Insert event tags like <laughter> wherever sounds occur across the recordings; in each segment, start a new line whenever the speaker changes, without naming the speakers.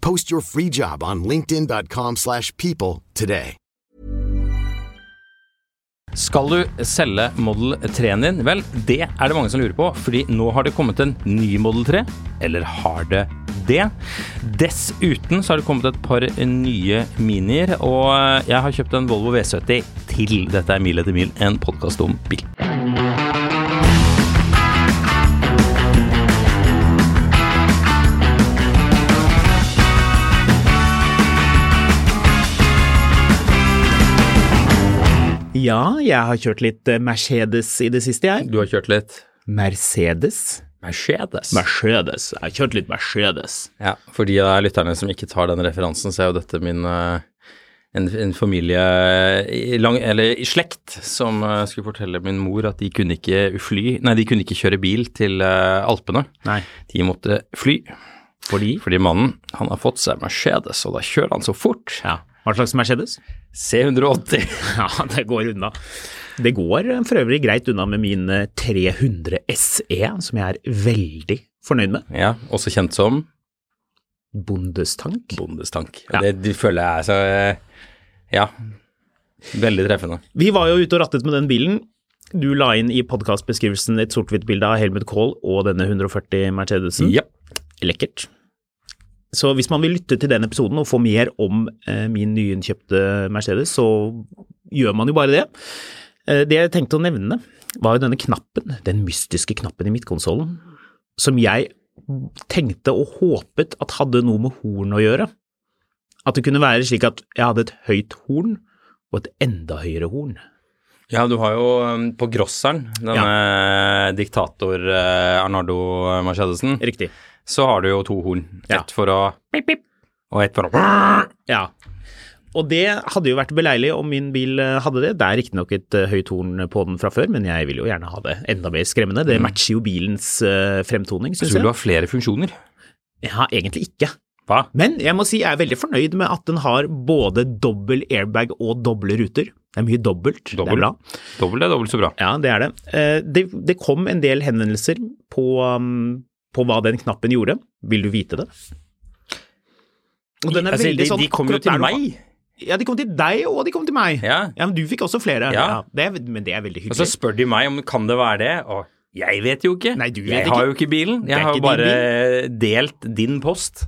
Post your free job on linkedin.com/people slash people today.
Skal du selge Model 3-en din? Vel, det er det mange som lurer på, fordi nå har det kommet en ny Model 3. Eller har det det? Dessuten så har det kommet et par nye minier, og eh, jeg har kjøpt en Volvo V70 til. Dette er Mil etter mil, en podkast om bil.
Ja, jeg har kjørt litt eh, Mercedes i det siste, jeg.
Du har kjørt litt
Mercedes?
Mercedes.
Mercedes. Jeg har kjørt litt Mercedes.
Ja, for de av lytterne som ikke tar den referansen, så er jo dette min eh, en, en familie eh, i lang, eller i slekt som eh, skulle fortelle min mor at de kunne ikke fly, nei, de kunne ikke kjøre bil til eh, Alpene.
Nei.
De måtte fly. Fordi? Fordi mannen, han har fått seg Mercedes, og da kjører han så fort.
Ja. Hva slags Mercedes?
C180.
Ja, <laughs> det går unna. Det går eh, for øvrig greit unna med min eh, 300 SE, E, som jeg er veldig fornøyd med.
Ja, også kjent som
Bondestank.
bondestank.
Ja.
Det de føler jeg er så eh, Ja. Veldig treffende.
Vi var jo ute og rattet med den bilen. Du la inn i podkastbeskrivelsen et sort-hvitt bilde av Helmut Kohl og denne 140 Mercedesen.
Ja.
Lekkert. Så hvis man vil lytte til den episoden og få mer om eh, min nyinnkjøpte Mercedes, så gjør man jo bare det. Eh, det jeg tenkte å nevne, var jo denne knappen, den mystiske knappen i midtkonsollen, som jeg tenkte og håpet at hadde noe med horn å gjøre. At det kunne være slik at jeg hadde et høyt horn og et enda høyere horn.
Ja, du har jo um, på Grosseren, denne diktator eh, Arnardo Mercedesen,
Riktig.
så har du jo to horn.
Ja.
Ett for å pip, pip, og ett for å
Ja. Og det hadde jo vært beleilig om min bil eh, hadde det. Det er riktignok et eh, høyt horn på den fra før, men jeg vil jo gjerne ha det enda mer skremmende. Det matcher jo bilens eh, fremtoning,
Så
syns
vil du
jeg.
ha flere funksjoner.
Ja, egentlig ikke.
Hva?
Men jeg må si jeg er veldig fornøyd med at den har både dobbel airbag og doble ruter. Det er mye dobbelt. Det
Dobbel.
er bra.
Dobbelt er dobbelt så bra.
Ja, det er det. Eh, Det, det kom en del henvendelser på, um, på hva den knappen gjorde. Vil du vite det? Og den er
Altså,
veldig
de,
sånn
de kommer jo
akkurat der
til
du-
meg.
Ja, de kom til deg, og de kom til meg.
Ja.
men du fikk også flere.
Ja. Altså,
det er, men det er veldig
Og så
hyggelig.
spør de meg om kan det være det, og jeg vet jo ikke.
Nei, du vet
jeg
ikke.
har jo ikke bilen.
er
Jeg har
ikke
jo
din
bare delt din post.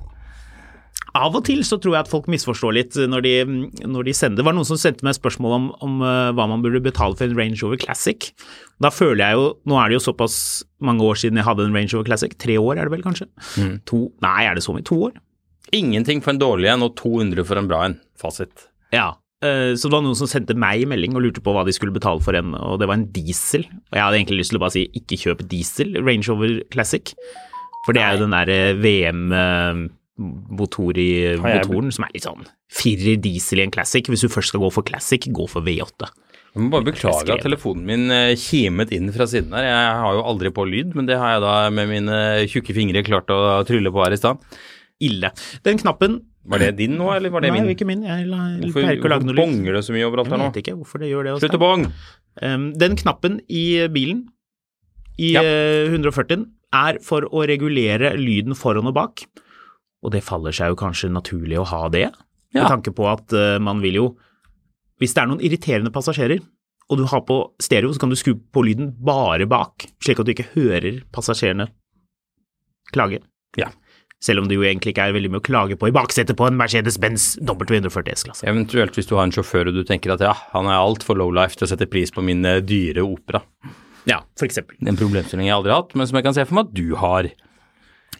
Av og til så tror jeg at folk misforstår litt eh, når de, mm, når de sender. Det var noen som sendte meg spørsmål om, om eh, hva man burde betale for en Range Rover Classic. Da føler jeg jo Nå er det jo såpass mange år siden jeg hadde en Range Rover Classic. Tre år er det vel kanskje?
Mm.
To Nei, er det så mye? To år?
Ingenting for en dårlig en og 200 for en bra en. Fasit.
Ja. eh, Så det var noen som sendte meg melding og lurte på hva de skulle betale for en, og det var en diesel. Og jeg hadde egentlig lyst til å bare si ikke kjøp diesel, Range Rover Classic. For det er jo den der eh, VM-motor eh, i
jeg-
motoren som er litt sånn firer diesel i en Classic. Hvis du først skal gå for Classic, gå for V8.
Jeg må bare beklage
skrev
at telefonen min eh, kimet inn fra siden her. Jeg har jo aldri på lyd, men det har jeg da med mine tjukke fingre klart å trylle på her i stad.
Ille. Den knappen
Var det din nå, eller var det
Nei,
min?
ikke min. Jeg la- jeg
Hvorfor,
pleier ikke å lage
hvorfor
noe lyd.
bonger det så mye overalt
Jeg
her nå?
vet ikke hvorfor det gjør det. altså. også.
Slutt å bong!
Um, den knappen i bilen, i
Ja.
eh, 140-en, er for å regulere lyden foran og bak. Og det faller seg jo kanskje naturlig å ha det,
Ja.
med tanke på at eh, man vil jo Hvis det er noen irriterende passasjerer, og du har på stereo, så kan du skru på lyden bare bak, slik at du ikke hører passasjerene klage.
Ja.
Selv om det jo egentlig ikke er veldig mye å klage på i baksetet på en Mercedes-Benz W140 S-klasse.
Eventuelt hvis du har en sjåfør og du tenker at ja, han er altfor lowlife til å sette pris på min eh, dyre opera.
Ja, for eksempel.
En problemstilling jeg aldri har hatt, men som jeg kan se for meg at du har.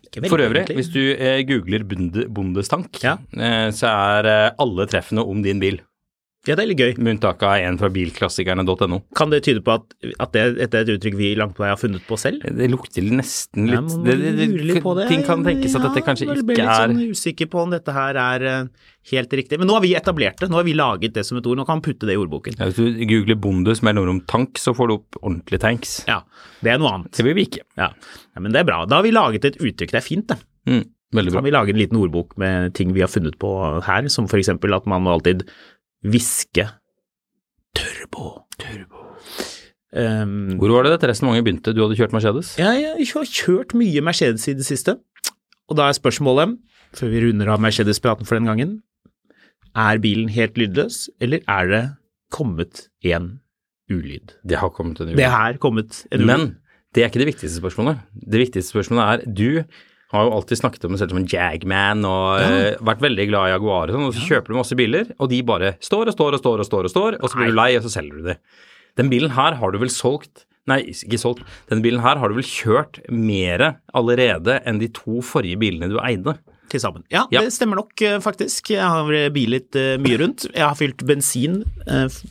Ikke veldig,
For øvrig,
egentlig.
hvis du eh, googler bonde, bondestank,
Ja.
eh, så er eh, alle treffene om din bil,
Ja, det er litt gøy.
med unntak av en fra bilklassikerne.no.
Kan det tyde på at, at det, dette er et uttrykk vi langt på vei har funnet på selv?
Det lukter nesten
Ja,
litt
man
det, det,
lurer litt på det.
Ting kan tenkes at dette kanskje
ja,
ikke
Jeg
er
ble litt sånn usikker på om dette her er eh, helt riktig. Men nå har vi etablert det, nå har vi laget det som et ord, nå kan man putte det i ordboken.
ja, Hvis du googler bonde som er nordom tank, så får du opp ordentlige tanks.
Ja, det er noe annet.
Det vil vi ikke.
Ja. ja, men det er bra. Da har vi laget et uttrykk, det er fint det.
Mm, veldig
Kan
bra.
vi lage en liten ordbok med ting vi har funnet på her, som for eksempel at man må alltid viske turbo. Um,
Hvor var det dette restaurantet begynte? Du hadde kjørt Mercedes?
Ja, jeg har kjørt mye Mercedes i det siste. Og da er spørsmålet, før vi runder av Mercedes-praten for den gangen, er bilen helt lydløs, eller er det kommet en ulyd?
Det har kommet en
Det er her kommet en ulyd.
Men det er ikke det viktigste spørsmålet. Det viktigste spørsmålet er du har jo alltid snakket om deg selv som en jagman og eh, vært veldig glad i Jaguar og sånn, og så kjøper du masse biler, og de bare står og står og står og står, og står, og så blir du lei, og så selger du de. Den bilen her har du vel solgt Nei, ikke solgt. Den bilen her har du vel kjørt mere allerede enn de to forrige bilene du eide.
til sammen. Ja,
Ja.
det stemmer nok eh, faktisk. Jeg har eh, bilet eh, mye rundt. Jeg har fylt bensin eh, f-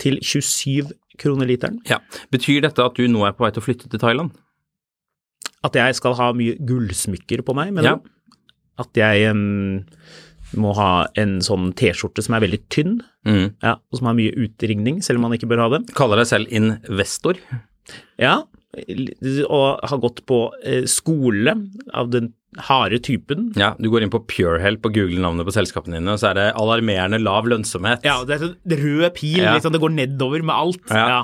til 27 kroner literen.
Ja. Betyr dette at du nå er på vei til å flytte til Thailand?
At jeg skal ha mye gullsmykker på
Ja.
meg, mener du? At jeg em, må ha en sånn T-skjorte som er veldig tynn,
Mm.
ja, og som har mye utringning, selv om man ikke bør ha det.
Kaller deg selv investor?
Ja, og har gått på eh, skole av den harde typen.
Ja, du går inn på PureHelp og googler navnet på selskapene dine, og så er det alarmerende lav lønnsomhet.
Ja, det er sånn rød pil,
Ja.
liksom, det går nedover med alt.
Ja.
Ja.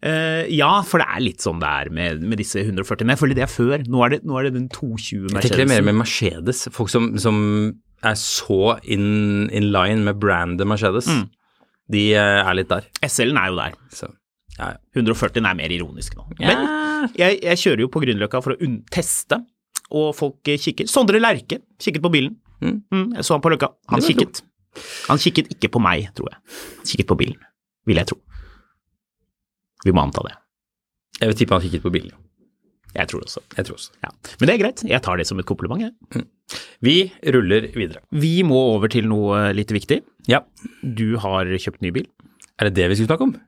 Eh, ja, for det er litt sånn det er med, med disse 140, men jeg føler det er før. Nå er det, nå er det den
Jeg
220
tenker det
Mercedesen.
mer med Mercedes. Folk som, som er så in, in line med brandet Mercedes, de eh, er litt der.
SL-en er jo der.
Så, ja, ja.
140 er mer ironisk nå. Men jeg, jeg kjører jo på Grünerløkka for å unn- teste, og folk eh, kikker. Sondre Lerche kikket på bilen.
Mm.
Mm, jeg så han på Løkka. Han
Det var
kikket. Han kikket ikke på meg, tror jeg. Han kikket på bilen, vil jeg tro. Vi må anta det.
Jeg vil tippe han kikket på bilen.
Jeg tror det også.
Jeg tror også. Mm.
Ja. Men det er greit. Jeg tar det som et kompliment, jeg.
Vi ruller videre.
Vi må over til noe eh, litt viktig.
Ja,
Du har kjøpt ny bil?
er det det vi skulle snakke om?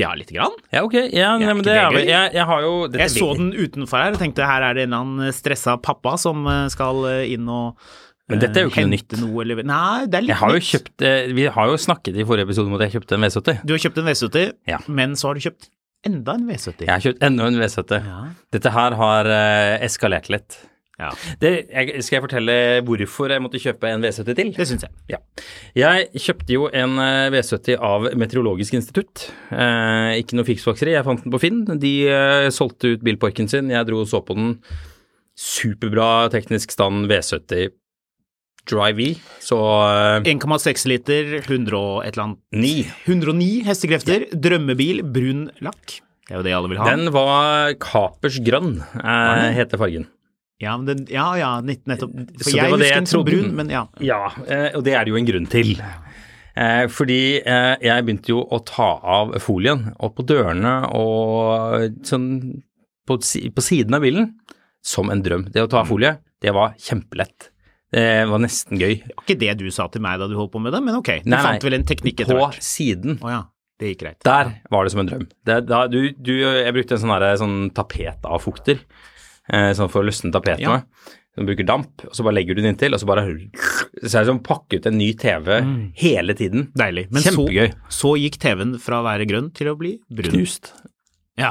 Ja, lite grann.
Ja, ok. Ja, nei,
ikke
men det
det
er
gøy?
vel Jeg, jeg har jo dette
Jeg så
vet-
den utenfor her og tenkte her er det en eller annen stressa pappa som eh, skal eh, inn og
Men dette er jo
eh,
ikke noe nytt.
hente Noe, eller... Nei, det er litt
Jeg har jo
nytt.
kjøpt eh, Vi har jo snakket i forrige episode om at jeg kjøpte en V70.
Du har kjøpt en V70,
Ja.
men så har du kjøpt enda en V70.
Jeg har kjøpt enda en V70. Dette her har eh, eskalert litt.
Ja,
Det, jeg, skal jeg fortelle hvorfor jeg måtte kjøpe en V70 til?
Det syns jeg.
Ja. Jeg kjøpte jo en eh, V70 av Meteorologisk institutt. Eh, ikke noe fiksfakseri, jeg fant den på Finn. De eh, solgte ut bilparken sin, jeg dro og så på den. Superbra teknisk stand V70 Drive-E, så eh,
1,6 liter, 100 og et eller annet.
ni.
109 hestekrefter, drømmebil, brun lakk. Det er jo det alle vil ha.
Den var kapers grønn, eh, heter fargen.
Ja, men den, ja, ja, nett- nettopp. For
Så det
jeg
var det
husker
jeg
den som
trodde
brun,
den-
men ja.
Ja, eh, og det er det jo en grunn til. Eh, Fordi eh, jeg begynte jo å ta av folien, og på dørene og sånn på, si- på siden av bilen, som en drøm. Det å
Mm.
ta av folie, det var kjempelett. Det var nesten gøy.
Det var ikke det du sa til meg da du holdt på med det, men ok. Du
Nei, nei,
fant vel en teknikk etter
På
hvert.
siden.
Å ja, det gikk greit.
Der var det som en drøm. Det, da, du, du, jeg brukte en sånn, her, sånn tapetavfukter, eh, sånn for å løsne tapetene.
Ja.
Du bruker damp, og så bare legger du den inntil, og så bare Så er det som å pakke ut en ny TV hele tiden.
Mm. Deilig. Men så,
Kjempegøy.
så gikk TV-en fra å være grønn til å bli brun.
Knust. <laughs>
Ja.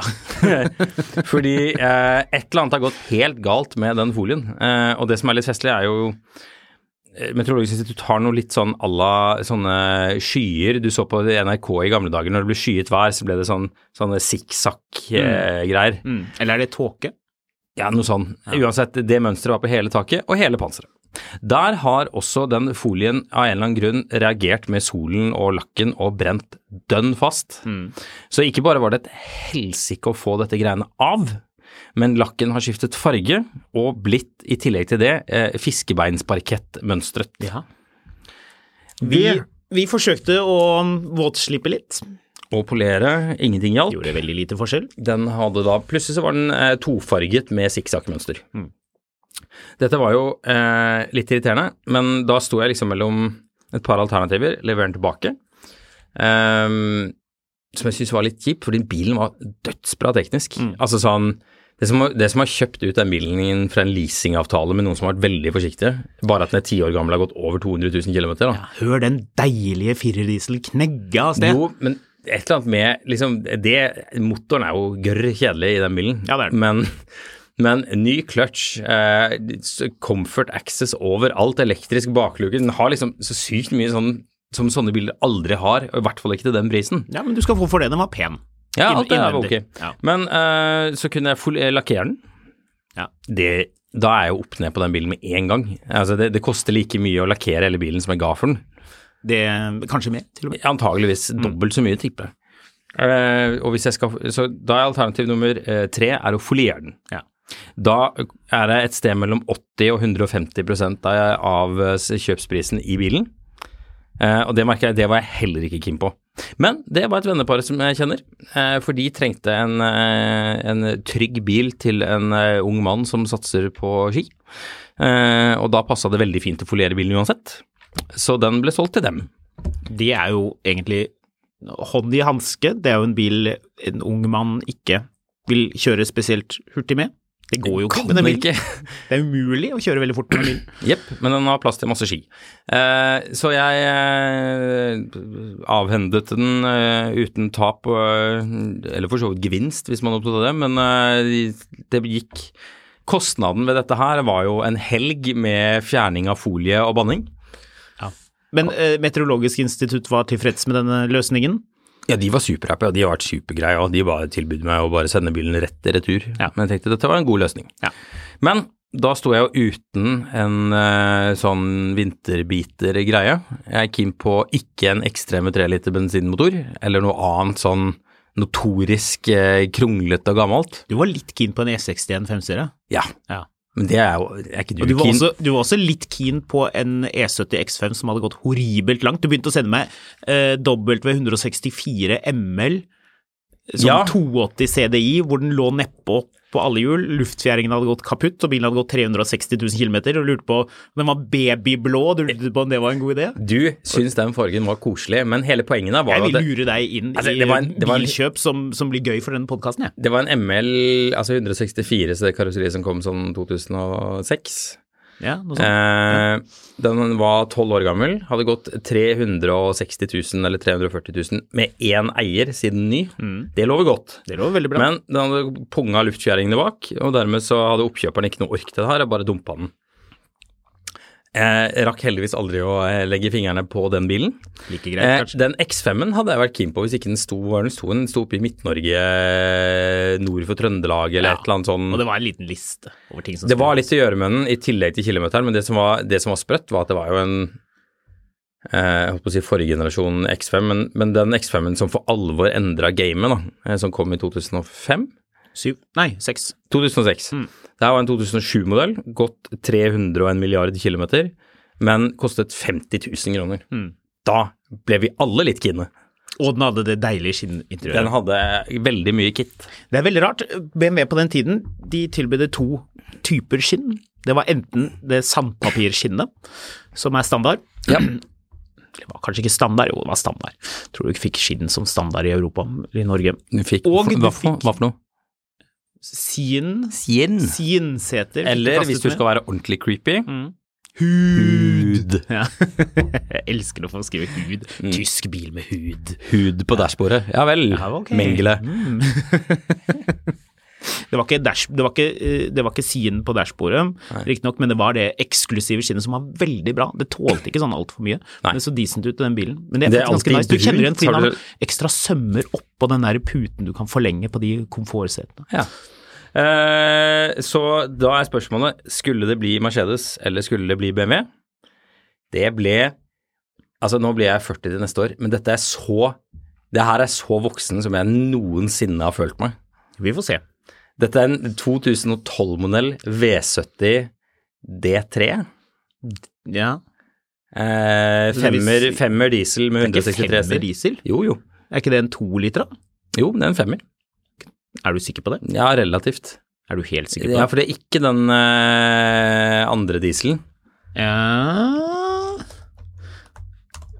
Fordi eh, et eller annet har gått helt galt med den folien. Eh, og det som er litt festlig, er jo eh, Meteorologisk institutt har noe litt sånn à la sånne skyer. Du så på NRK i gamle dager, når det ble skyet vær, så ble det sånn, sånne eh, sikksakk-greier.
Mm. Eller er det tåke?
Ja, noe sånn. Uansett, det mønsteret var på hele taket og hele panseret. Der har også den folien av en eller annen grunn reagert med solen og lakken og brent dønn fast. Så ikke bare var det et helsike å få dette greiene av, men lakken har skiftet farge og blitt, i tillegg til det, eh, fiskebeinsparkettmønstret.
Ja. Vi, vi forsøkte å um, våtslippe litt.
Og polere, ingenting hjalp.
Gjorde veldig lite forskjell.
Den hadde da Plutselig så var den eh, tofarget med sikksakkmønster. Dette var jo eh, litt irriterende, men da sto jeg liksom mellom et par alternativer. Leverer den tilbake. Ehm, som jeg syntes var litt kjipt, fordi bilen var dødsbra teknisk. Altså sånn det som, har- det som har kjøpt ut den bilen fra en leasingavtale med noen som har vært veldig forsiktige, bare at den er ti år gammel og har gått over 200 000 km, da.
Hør den deilige firerdiesel knegge av sted.
Jo, men et eller annet med liksom, det, Motoren er jo gørr kjedelig i den bilen.
Ja, det er den.
Men, men ny clutch, eh, s- comfort access overalt, elektrisk bakluke Den har liksom så sykt mye sånn som sånne biler aldri har, og i hvert fall ikke til den prisen.
Ja, men du skal få for det. Den var pen.
Ja,
Inn-
alt det der var ok.
innvendig. Ja.
Men eh, så kunne jeg full- eh, lakkere den.
Ja.
Det, da er jeg jo opp ned på den bilen med en gang. Altså, det, det koster like mye å lakkere hele bilen som jeg ga for den.
Det, kanskje mer, til og med.
Antageligvis dobbelt så mye, tipper jeg. Mm. Eh, og hvis jeg skal, så da er alternativ nummer eh, tre er å foliere den.
Ja.
Da er det et sted mellom 80 og 150 av- av eh, kjøpsprisen i bilen. Eh, og det merker jeg, det var jeg heller ikke keen på. Men det var et vennepar som jeg kjenner, eh, for de trengte en, eh, en trygg bil til en eh, ung mann som satser på ski. Eh, og da passa det veldig fint å foliere bilen uansett, så den ble solgt til dem.
Det er jo egentlig hånd i hanske. Det er jo en bil en ung mann ikke vil kjøre spesielt hurtig med. Det går jo ikke med den bilen.
ikke.
Det er umulig å kjøre veldig fort med den bilen.
Jepp, men den har plass til masse ski. Eh, så jeg eh, avhendet den eh, uten tap, eh, eller for så vidt gevinst, hvis man er opptatt av det, men eh, det gikk Kostnaden ved dette her var jo en helg med fjerning av folie og banning.
Men eh, Meteorologisk institutt var tilfreds med denne løsningen.
Ja, de var superhappy, og de har vært supergreie, og de bare tilbød meg å bare sende bilen rett i retur.
Ja.
Men jeg tenkte dette var en god løsning.
Ja.
Men da sto jeg jo uten en eh, sånn vinterbiter-greie. Jeg er keen på ikke en ekstreme 3 liter bensinmotor, eller noe annet sånn notorisk eh, kronglete og gammelt.
Du var litt keen på en E61 femserie.
Ja,
Ja.
men det er jo er ikke du,
Og du var,
keen.
også, du var også litt keen på en E70 X5 som hadde gått horribelt langt. Du begynte å sende meg eh, W164 ML som
Ja.
280 CDI, hvor den lå nedpå på alle hjul. Luftfjæringen hadde gått kaputt, og bilen hadde gått 360 000 km. Og lurte på om den var babyblå, du lurte på om det var en god idé?
Du syns den fargen var koselig, men hele poenget der var
Jeg
jo
vil
at det-
lure deg inn
Altså,
i
det var en- det var en-
bilkjøp som, som blir gøy for denne podkasten, jeg.
Det var en ML, altså 164, så det karosseriet som kom sånn 2006.
Ja, noe sånt.
Eh, den var 12 år gammel, hadde gått 360 000 eller 340 000 med én eier siden ny. Det lover godt.
Mm. Det lå veldig bra.
Men den hadde punga luftfjæringene bak, og dermed så hadde oppkjøperen ikke noe ork til det her, og bare dumpa den. Jeg rakk heldigvis aldri å eh, legge fingrene på den bilen.
like greit,
Eh,
kanskje.
den X5-en hadde jeg vært keen på hvis ikke den sto hvor den sto. Den sto oppe i Midt-Norge, eh, nord for Trøndelag eller
Ja,
et eller annet sånn.
Og det var en liten liste over ting som
Det
skulle
var litt å gjøre med den i tillegg til kilometeren, men det som var, det som var sprøtt, var at det var jo en eh, jeg holdt på å si forrige generasjon X5, men, men den X5-en som for alvor endra gamet, da, eh, som kom i 2005
Syv? Nei, seks.
2006. Det her var en 2007-modell, gått 301 milliarder kilometer, men kostet 50 000 kroner. Da ble vi alle litt kine.
Og den hadde det deilige skinninteriøret.
Den hadde veldig mye kit.
Det er veldig rart. BMW på den tiden de tilbød to typer skinn. Det var enten det sandpapirskinnet, som er standard.
Ja.
<clears throat> Det var kanskje ikke standard, jo, det var standard. Tror du ikke fikk skinn som standard i Europa, eller i Norge.
Du fikk,
Og du
hva, for-
fikk-
hva for noe?
Sien
Sien.
Sienseter. fikk
Eller
det
hvis
kastet
du
med.
skal være ordentlig creepy,
Hud. Ja. <laughs> Jeg elsker å få skrive hud.
Mm.
Tysk bil med hud.
hud på dashbordet. Ja Mm. vel,
Ja, ok.
Mengele.
Det var ikke, dash, det var ikke, eh, det var ikke siden på dashbordet, riktignok, men det var det eksklusive skinnet som var veldig bra. Det tålte ikke sånn altfor mye.
Nei.
Men det så decent ut i den bilen. Men det er,
Det er
faktisk ganske
alltid
nice. Du kjenner igjen
brunt,
fordi
har
den
du-
har ekstra sømmer oppå den der puten du kan forlenge på de komfortsetene.
Ja. Eh, så da er spørsmålet skulle det bli Mercedes eller skulle det bli BMW. Det ble Altså, nå blir jeg 40 til neste år, men dette er så Det her er så voksen som jeg noensinne har følt meg.
Vi får se.
Dette er en 2012-modell V70 D3.
Ja.
Eh, femmer,
Det er
femmer diesel med
Det er ikke
163
femmer
hester.
diesel?
Jo, jo.
Er ikke det en toliter, da?
Jo, det er en femmer.
Er du sikker på det?
Ja, relativt.
Er du helt sikker på
Ja,
det?
for det er ikke den eh, andre dieselen.
Ja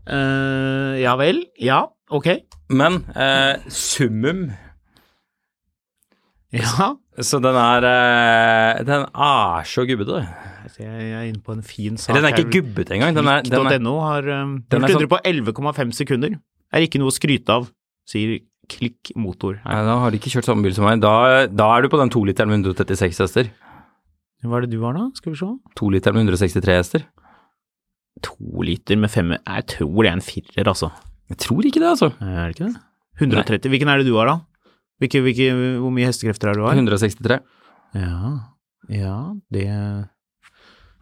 Eh, Ja vel. Ja, ok.
Men eh, summum
Ja.
Så den er eh, Den er så gubbete.
Altså, Jeg jeg er inne på en fin sak.
Eller den er
her.
ikke gubbete engang. Den er, den er,
Klikk.no har um,
den er
gjort
sånn-
under på 11,5 sekunder. Er ikke noe å skryte av, sier Klikk Motor her.
Nei, da har de ikke kjørt samme bil som meg. Da, da er du på den 2-literen med 136 hester.
Hva er det du har da? Skal vi se.
2-literen med 163 hester.
To liter med fem Jeg tror det er en firer, altså. Eh,
Jeg tror ikke det, altså.
Er det ikke det? 130. Hvilken er det du har, da? Hvilke, hvilke, hvor mye hestekrefter er det du har?
163.
Ja, ja det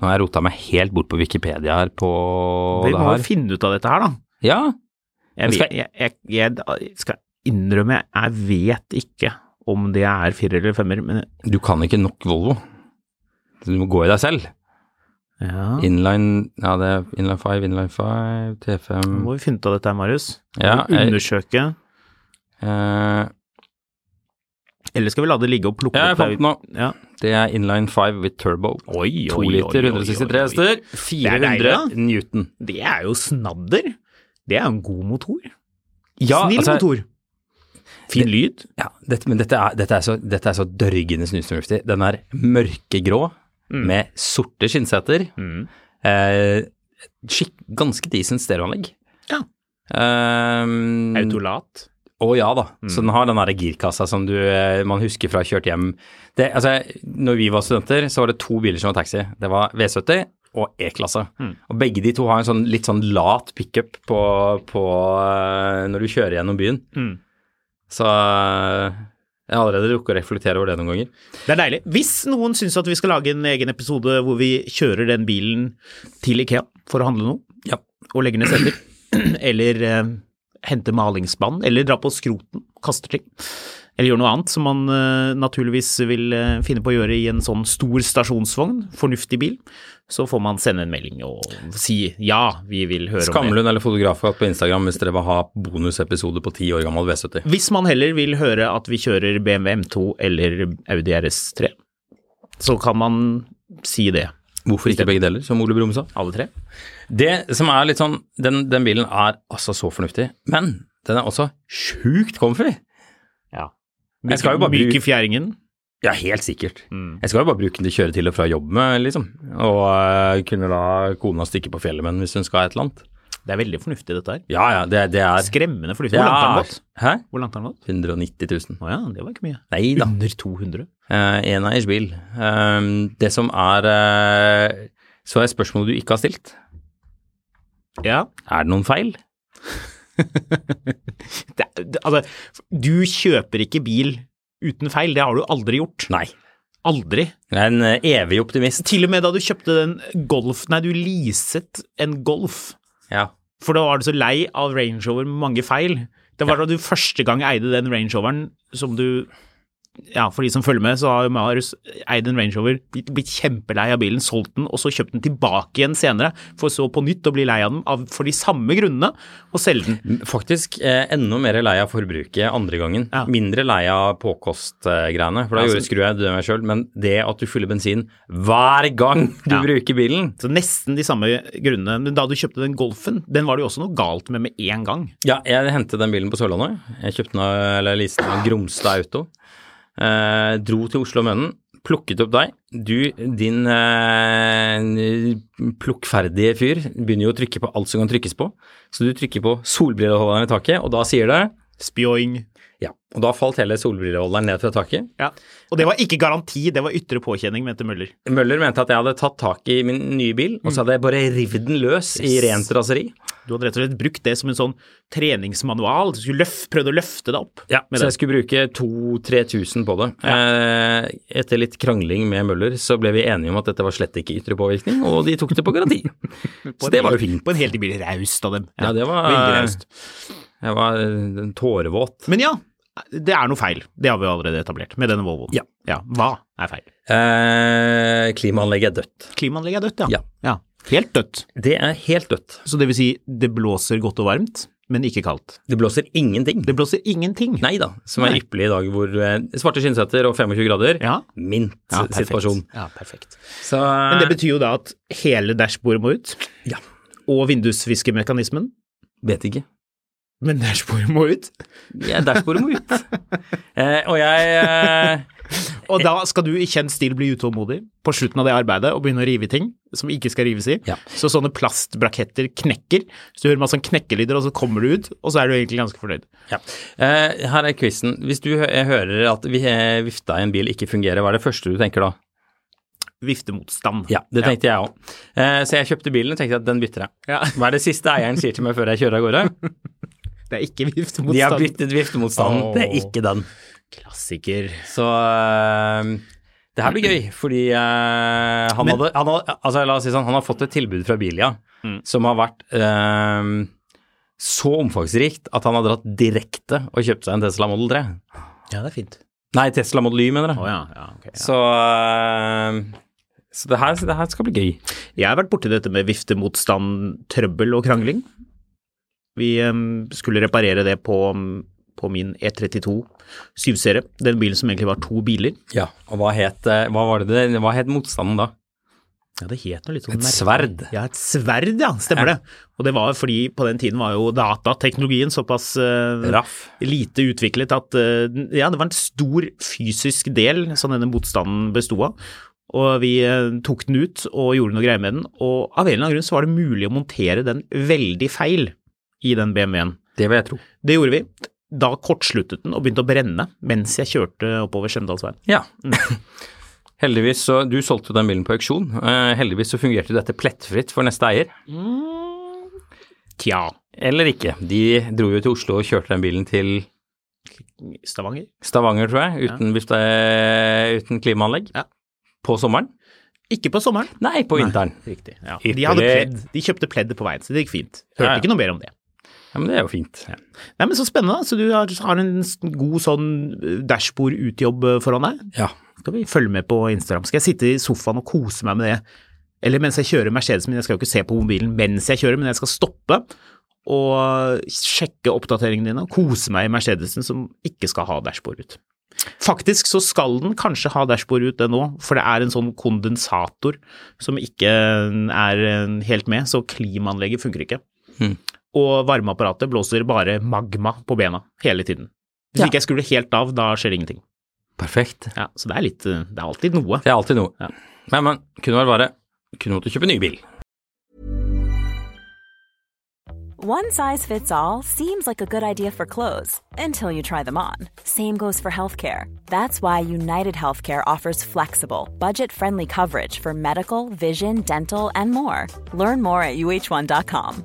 Nå har jeg rota meg helt bort på Wikipedia her på
Vi
det
må jo
her.
finne ut av dette her, da.
Ja,
Jeg,
Men skal-
vet- jeg, jeg, jeg skal innrømme, jeg vet ikke om det er firer eller femmer, men
du kan ikke nok Volvo. Så du må gå i deg selv.
ja.
Inline Ja, det er inline 5, inline 5, T5
Nå må vi finne ut av dette her, Marius.
Ja,
Vi må
jeg-
Undersøke.
eh,
Eller skal vi la det ligge og plukke
Ja, jeg
opp
fant den nå.
Ja.
Det er inline 5 with turbo.
Oi,
2
oi, oi,
liter,
oi,
163
oi, oi.
hester,
er deilig,
400
da.
newton.
Det er jo snadder. Det er jo en god motor.
Ja,
Snill
altså-
motor. Fin lyd.
Ja, dette, men dette er, dette er så, dette er så dørgende snusfornuftig. Den er mørkegrå
Mm.
med sorte skinnseter. Eh, skikk, ganske decent stereoanlegg.
Ja.
Ehm,
Autolat.
Å ja da.
Mm.
Så den har den derre girkassa som du, eh, man husker fra kjørt hjem. Det, altså, når vi var studenter, så var det to biler som var taxi. Det var V70 og E-klasse.
Mm.
Og begge de to har en sånn litt sånn lat pickup på, på eh, når du kjører gjennom byen.
Mm.
Så eh, jeg har allerede rukket å reflektere over det noen ganger.
Det er deilig. Hvis noen syns at vi skal lage en egen episode hvor vi kjører den bilen til Ikea for å handle noe,
Ja.
og legger ned seter, <clears throat> eller eh, henter malingsbånd, eller drar på skroten, kaster ting, eller gjør noe annet som man eh, naturligvis vil eh, finne på å gjøre i en sånn stor stasjonsvogn, fornuftig bil, så får man sende en melding og si ja, vi vil høre om det.
Skamlund eller Fotografkatt på Instagram hvis dere vil ha bonusepisode på ti år gammel V70.
Hvis man heller vil høre at vi kjører BMW M2 eller Audi RS3, så kan man si det,
Hvorfor ikke begge deler, som Ole Brumm sa?
alle tre.
Det som er litt sånn, den, den bilen er altså så fornuftig, men den er også sjukt comfy.
Ja.
Jeg skal jo bare
Myk i
bruke-
fjæringen.
Ja, helt sikkert. Jeg skal jo bare bruke den til å kjøre til og fra jobb med, liksom. Og øh, kunne la kona stikke på fjellet med den hvis hun skal ha et eller annet.
Det er veldig fornuftig, dette her.
Ja, ja, det, det er
Skremmende fornuftig.
det
Hvor langt har den
er,
gått?
Hæ?
Hvor langt har den gått?
190 000.
Å ja, det var ikke mye.
Nei da.
Under 200.
Eh, Eneiers bil. Eh, det som er eh, Så er spørsmålet du ikke har stilt.
Ja.
Er det noen feil?
Det, er- det, altså, du kjøper ikke bil uten feil. Det har du aldri gjort.
Nei.
Aldri.
Jeg er en eh, evig optimist.
Til og med da du kjøpte den Golf Nei, du leaset en Golf.
Ja.
For da var du så lei av Range Rover med mange feil. Det var da du første gang eide den Range Roveren som du Ja, for de som følger med, så har jo Marius eid en Range Rover, blitt blitt kjempelei av bilen, solgt den, og så kjøpt den tilbake igjen senere, for så på nytt å bli lei av den av, for de samme grunnene, og selge den.
Faktisk eh, enda mer lei av forbruket andre gangen.
Ja.
Mindre lei av påkostgreiene, for da gjorde skrur jeg det meg sjøl. Men det at du fyller bensin hver gang <laughs> du
Ja.
bruker bilen
Så nesten de samme grunnene. Men da du kjøpte den Golfen, den var det jo også noe galt med med en gang.
Ja, jeg hentet den bilen på Sørlandet. Jeg kjøpte den av- eller leaste den av Gromstad Auto. Eh, dro til Oslo og Mønnen. Plukket opp deg. Du, din eh, plukkferdige fyr, begynner jo å trykke på alt som kan trykkes på. Så du trykker på solbrilleholderen i taket, og da sier det
Spjoing.
Ja. Og da falt hele solbrilleholderen ned fra taket.
Ja. Og det var ikke garanti, det var ytre påkjenning, mente Møller.
Møller mente at jeg hadde tatt tak i min nye bil, og
Mm.
så hadde jeg bare revet den løs i rent raseri.
Du hadde rett og slett brukt det som en sånn treningsmanual. Du skulle løf, prøvd å løfte deg opp.
Ja,
med
så
det.
jeg skulle bruke 2000-3000 på det. Eh, etter litt krangling med Møller, så ble vi enige om at dette var slett ikke ytre påvirkning, og de tok det på garanti. så det var jo fint.
<laughs> På en helt bil raust av dem.
Ja, det var
Veldig raust.
Jeg var eh, tårevåt.
Men ja, Det er noe feil, det har vi jo allerede etablert med denne Volvoen.
Ja.
Hva er feil?
Eh, klimaanlegget er dødt.
Klimaanlegget er dødt, ja.
Ja.
Helt dødt.
Det er helt dødt.
Så det vil si, det blåser godt og varmt, men ikke kaldt.
Det blåser ingenting.
Det blåser ingenting.
Nei da, som er
Nei.
ypperlig i dag hvor eh, svarte skinnsetter og 25 grader.
Ja. Ja, perfekt.
Mint-situasjon.
Ja, perfekt.
Så
Men det betyr jo da at hele dashbordet må ut,
Ja,
og vindusviskemekanismen,
vet ikke.
men dashbordet må ut.
Ja, Dashbordet må ut. Eh, og jeg eh,
Og da skal du i kjent stil bli utålmodig på slutten av det arbeidet og begynne å rive i ting som ikke skal rives i.
Ja.
Så sånne plastbraketter knekker. Så du hører masse sånn knekkelyder, og så kommer du ut, og så er du egentlig ganske fornøyd.
ja. eh, Her er quizen. Hvis du hø- hører at vi- eh, vifta i en bil ikke fungerer, hva er det første du tenker da?
Viftemotstand.
Ja, det tenkte jeg òg. Eh, så jeg kjøpte bilen og tenkte at den bytter jeg.
Ja.
Hva er det siste eieren sier til meg før jeg kjører av gårde?
Det er ikke <laughs> viftemotstand.
De har byttet viftemotstanden.
Åh.
Det er ikke den.
Klassiker.
Så eh, det her blir gøy, fordi eh, han
Men-
hadde, han hadde Altså, la oss si sånn, han har fått et tilbud fra Bilia
Mm.
som har vært eh, så omfangsrikt at han har dratt direkte og kjøpt seg en Tesla Model 3.
Ja, det er fint.
Nei, Tesla Model Y, mener jeg.
Å ja. ja, ok.
Så, eh, så det, her, det her skal bli gøy.
Jeg har vært borti dette med viftemotstand, trøbbel og krangling. Vi em, skulle reparere det på, på min E32 7-serie, den bilen som egentlig var to biler.
Ja. Og hva het, eh, hva var det, det- hva het motstanden da?
Ja, det het noe litt sånn
Et
merkelig.
sverd.
Ja, et sverd, ja. Stemmer det. Og det var fordi på den tiden var jo datateknologien såpass eh,
Raff.
lite utviklet at eh, ja, det var en stor fysisk del som denne motstanden besto av. Og vi eh, tok den ut og gjorde noe greier med den, og av en eller annen grunn så var det mulig å montere den veldig feil i den BMW-en.
Det vil jeg tro.
Det gjorde vi. Da kortsluttet den og begynte å brenne mens jeg kjørte oppover Skjemdalsveien.
Ja.
Mm.
<laughs> Heldigvis så, Du solgte jo den bilen på auksjon. Eh, heldigvis så fungerte jo dette plettfritt for neste eier.
Tja,
Eller ikke. De dro jo til Oslo og kjørte den bilen til
Stavanger?
Stavanger, tror jeg, uten, vifte, uten klimaanlegg.
Ja.
På sommeren?
Ikke på sommeren.
Nei, på vinteren.
Riktig. Ja.
Ypperlig.
De, hadde pledd, de kjøpte pledd på veien, så det gikk fint. Hørte
Ja, ja.
ikke noe mer om det.
Ja, Men det er jo fint.
Nei, men Så spennende. da. Så du har, har en s- god sånn eh, dashbord ut-jobb eh, foran deg.
Ja.
Skal vi følge med på Instagram? Skal jeg sitte i sofaen og kose meg med det? Eller mens jeg kjører Mercedesen min, jeg skal jo ikke se på mobilen mens jeg kjører, men jeg skal stoppe og sjekke oppdateringene dine og kose meg i Mercedesen som ikke skal ha dashbord ut. Faktisk så skal den kanskje ha dashbord ut den òg, for det er en sånn kondensator som ikke er eh, helt med, så klimaanlegget funker ikke.
Mhm.
Og varmeapparatet blåser bare magma på bena hele tiden. Hvis
Ja.
ikke jeg skrur det helt av, da skjer det ingenting.
Perfekt.
Ja, Så det er litt eh, Det er alltid noe.
Det er alltid noe.
Ja.
Men, men kunne vel bare Kunne måtte kjøpe ny bil.
One size fits all seems like a good idea for clothes until you try them on. Same goes for healthcare. That's why United Healthcare offers flexible, budget friendly coverage for medical, vision, dental, and more. Learn more at uh1.com.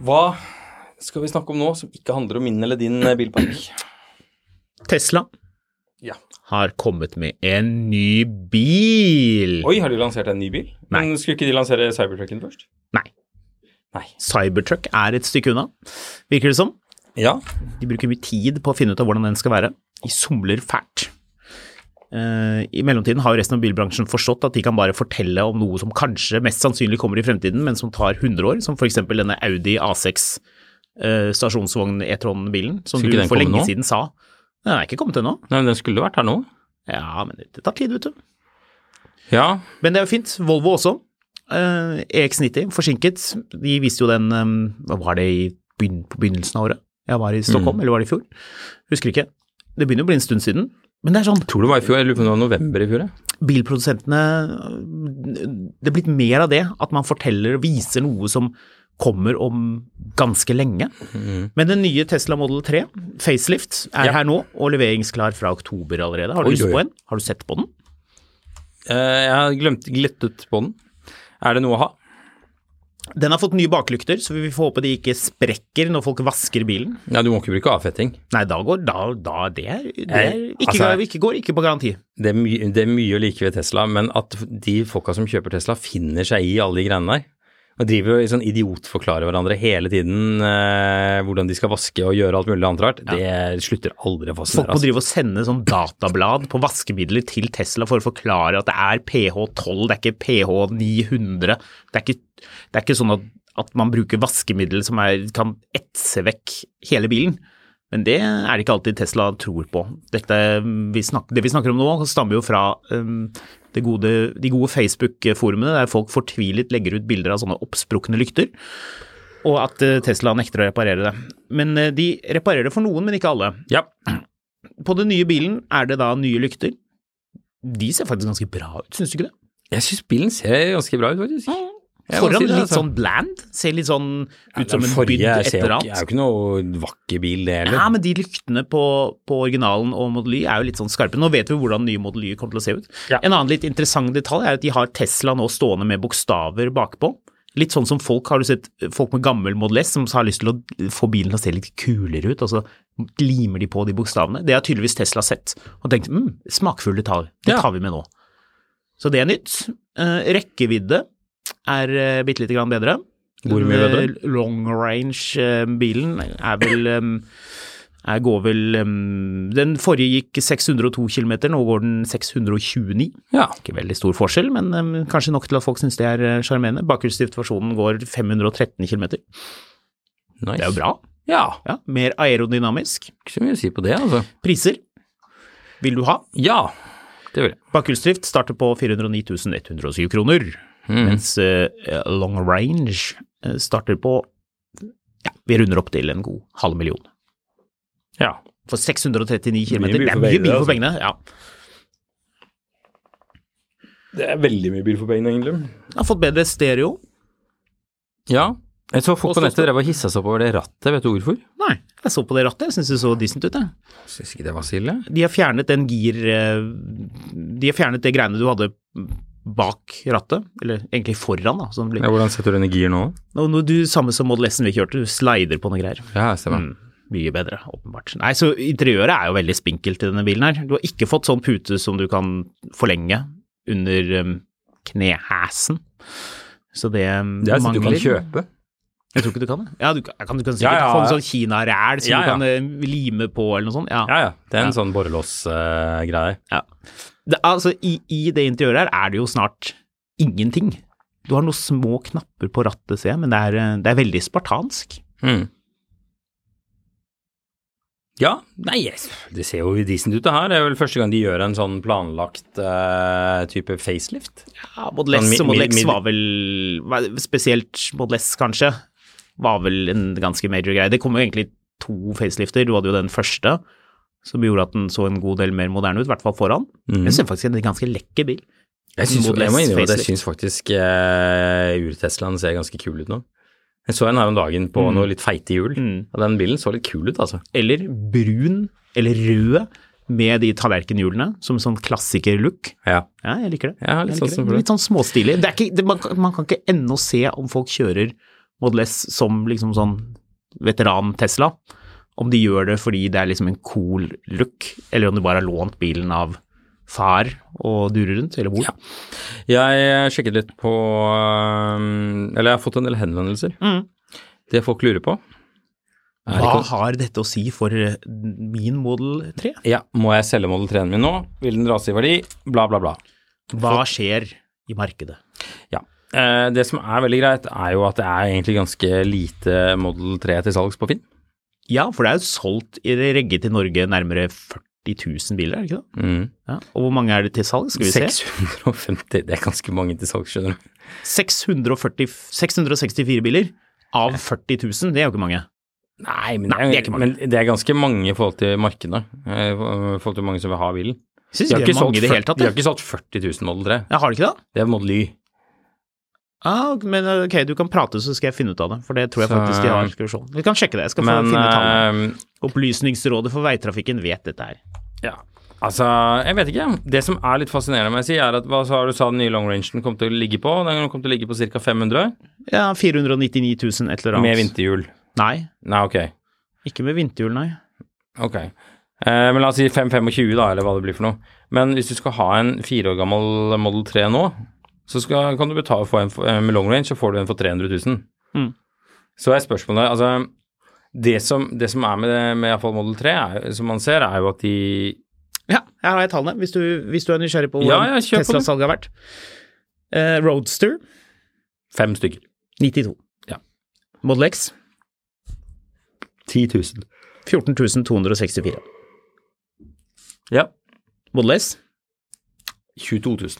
Hva skal vi snakke om nå som ikke handler om min eller din eh, bilpark?
Tesla
<clears throat> Ja.
har kommet med en ny bil.
Oi, har de lansert en ny bil? Men skulle ikke de lansere Cybertrucken først?
Nei.
Nei.
Cybertruck er et stykke unna, virker det som.
Ja.
De bruker mye tid på å finne ut av hvordan den skal være. De somler fælt. Eh, I mellomtiden har jo resten av bilbransjen forstått at de kan bare fortelle om noe som kanskje mest sannsynlig kommer i fremtiden, men som tar 100 år, som f.eks. denne Audi A6 eh, stasjonsvogn E-tron-bilen, som
Skulle
du
ikke den
for
komme
lenge
nå?
siden sa. Den er ikke kommet ennå.
Nei, men den skulle jo vært her nå.
Ja, men det tar tid, vet du.
Ja.
Men det er jo fint. Volvo også. Eh, EX90 forsinket. De viste jo den eh, hva Var det i begyn på begynnelsen av året? Jeg var i Stockholm,
Mm.
eller var det i fjor? Husker ikke. Det begynner å bli en stund siden. Men det er sånn
Tror det var i fjor. Jeg lurer på om det var november i fjor. jeg.
bilprodusentene eh, Det er blitt mer av det, at man forteller og viser noe som kommer om ganske lenge. Men den nye Tesla Model 3, facelift, er
Mm. Ja.
her nå og leveringsklar fra oktober allerede. Har du
Oi,
lyst
oi.
på en? Har du sett på den?
Eh, jeg har glemt glettet på den. Er det noe å ha?
Den har fått nye baklykter, så vi får håpe de ikke sprekker når folk vasker bilen.
Ja, du må ikke bruke avfetting.
Nei, da går da, da det er, det er
Eh,
ikke,
altså-
ikke går ikke på garanti.
Det er, mye, det er mye å like ved Tesla, men at de folka som kjøper Tesla, finner seg i alle de greiene der. Og driver og sånn idiotforklarer hverandre hele tiden eh, hvordan de skal vaske og gjøre alt mulig annet rart. Det slutter aldri å
Folk
fascinere.
må
Altså.
drive og sende sånn datablad på vaskemidler til Tesla for å forklare at det er pH12, det er ikke pH900. Det er ikke, det er ikke sånn at, at man bruker vaskemiddel som er, kan etse vekk hele bilen. Men det er det ikke alltid Tesla tror på. Dette vi snakker, det vi snakker om nå, stammer jo fra um, det gode, de gode Facebook-forumene der folk fortvilet legger ut bilder av sånne oppsprukne lykter og at eh, Tesla nekter å reparere det. Men eh, de reparerer det for noen, men ikke alle.
Ja.
På den nye bilen er det da nye lykter. De ser faktisk ganske bra ut, syns du ikke det?
Jeg syns bilen ser ganske bra ut, faktisk. Jeg må
Foran
si det,
litt
altså.
sånn bland, ser litt sånn
Ja,
ut som
den
en bydd
forrige
et
ser jo
eller
ikke- er jo
annet.
ikke noe vakker bil, det heller.
Ja, men de lyktene på, på originalen og Model Y er jo litt sånn skarpe. Nå vet vi hvordan nye Model Y kommer til å se ut.
Ja.
En annen litt interessant detalj er at de har Tesla nå stående med bokstaver bakpå. Litt sånn som folk, har du sett folk med gammel Model S som har lyst til å få bilen til å se litt kulere ut, og så limer de på de bokstavene. Det har tydeligvis Tesla sett og tenkt mm, smakfull detalj, det
Ja.
tar vi med nå. Så det er nytt. Eh, rekkevidde er uh, bitte lite grann bedre.
Hvor mye bedre?
Eh, Long range-bilen er vel eh, er, går vel eh, Den forrige gikk 602 km, nå går den 629.
Ja.
Ikke veldig stor forskjell, men eh, kanskje nok til at folk syns det er eh, sjarmerende. Bakhjulsdriftversjonen går 513 km. Det
Nice.
er jo bra.
Ja,
Ja, mer aerodynamisk.
ikke så mye å si på det, altså.
Priser vil du ha?
Ja, det vil jeg.
Bakhjulsdrift starter på 409 107 kroner, mens eh, long range eh, starter på ja, Vi runder opp til en god halv million.
Ja.
For 639 km.
Mye, mye
Det
for
er
pengene,
mye mye for
altså.
pengene. Ja.
Det er veldig mye bil for pengene, egentlig.
Jeg har fått bedre stereo.
Ja. Jeg så folk
Og
på nettet
stå-
drev og hissa seg oppover det rattet, vet du hvorfor?
Nei, jeg så på det rattet. Jeg syns det så decent ut, jeg.
Syns ikke det var så ille.
De har fjernet den gir... eh, De har fjernet det greiene du hadde bak rattet, eller egentlig foran, da. Sånn blir.
Ja, hvordan setter du den i gir nå?
Og når du, samme som Model S-en vi kjørte, du slider på noen greier.
Ja, stemmer.
Mm, mye bedre, åpenbart. Nei, så interiøret er jo veldig spinkelt i denne bilen her. Du har ikke fått sånn pute som du kan forlenge under um, knehæsen. Så det, um,
Det er sånn du kan
mangler.
kjøpe.
Jeg tror ikke du kan det. Ja, du kan, kan, du kan sikkert
Ja, ja,
få en
ja.
sånn kinaræl som
Ja, ja.
du kan eh, lime på eller noe sånt. Ja.
Ja, ja. Det er en
Ja.
sånn borrelåsgreie.
Ja. Det, altså, i, I det interiøret her er det jo snart ingenting. Du har noen små knapper på rattet, ser jeg, men det er, eh, det er veldig spartansk.
mm. Ja, nei, yes. det ser jo decent ut det her. Det er vel første gang de gjør en sånn planlagt eh, type facelift.
Ja, Model S
Sånn mi-
og Model
mi-
X
mi-
var vel var- Spesielt Model S, kanskje, var vel en ganske major greie. Det kom jo egentlig to facelifter. Du hadde jo den første, som gjorde at den så en god del mer moderne ut, i hvert fall foran. Jeg ser faktisk en ganske lekker bil.
Jeg, syns,
Model
jeg må
S
innrømme at jeg
facelift.
syns faktisk eh, ur-Teslaen ser ganske kul ut nå. Jeg så en her om dagen på noe litt feite hjul, og den bilen så litt kul ut, altså.
Eller brun, eller rød, med de tallerkenhjulene, som sånn klassiker-look.
Ja.
Ja, jeg liker det.
Ja, litt
Jeg liker
sånn som
det.
for det.
litt sånn småstilig. Det er ikke, det, man, kan- man kan ikke ennå se om folk kjører Model S som liksom sånn veteran-Tesla. Om de gjør det fordi det er liksom en cool look, eller om de bare har lånt bilen av far og durer rundt, eller hvor.
Ja. Jeg eh, sjekket litt på um, Eller jeg har fått en del henvendelser. Det folk lurer på Ah. er
Hva
ikke-
har dette å si for eh, min Model 3?
Ja, må jeg selge Model 3-en min nå? Vil den rase i verdi? Bla, bla, bla.
Hva skjer i markedet?
Ja. Eh, det som er veldig greit, er jo at det er egentlig ganske lite Model 3 til salgs på Finn.
Ja, for det er jo solgt i det regget til Norge nærmere 40 000 biler, er det ikke det?
Mm.
Ja. Og hvor mange er det til salg? Skal vi se.
650, det er ganske mange til salgs, skjønner du.
640, 664 biler av 40 000, det er jo ikke mange.
Nei, men,
Nei,
det, er,
det er ikke mange.
men det er ganske mange i forhold til markedet. eh, I forhold til mange som vil ha bilen.
Synes
De har
ikke
ikke
det er mange
solgt
i det hele
40
tatt.
de har
jeg.
ikke solgt 40 000 Model 3.
Ja, har de ikke det?
Det er Model Y.
Ah, men ok, du kan prate, så skal jeg finne ut av det. For det tror jeg
Så-
faktisk de har ekskursjon. Vi kan sjekke det. Jeg skal få
Men
finne tallene.
eh,
Opplysningsrådet for veitrafikken vet dette her.
Ja. Altså, jeg vet ikke. Det som er litt fascinerende med å si, er at hva sa du sa den nye longrangen kom til å ligge på? Den kom til å ligge på ca. 500
Ja, 499 000 et eller annet.
med vinterhjul.
Nei,
Nei, ok.
ikke med vinterhjul, nei.
Ok. Eh, men la oss si 525, da, eller hva det blir for noe. Men hvis du skal ha en fire år gammel Model 3 nå, så skal, kan du betale for en for, eh, med long range, så får du en for 300 000.
Mm.
Så er spørsmålet Altså, det som, det som er med, det- med i hvert fall Model 3, er, jo- som man ser, er jo at de
Ja, her har jeg tallene, hvis du, hvis du er nysgjerrig på
Ja,
hvordan
ja, kjør på det.
Tesla-salget har vært. Eh, Roadster
Fem stykker.
92.
Ja.
Model X
10 000.
14 264.
Ja.
Model S
22 000.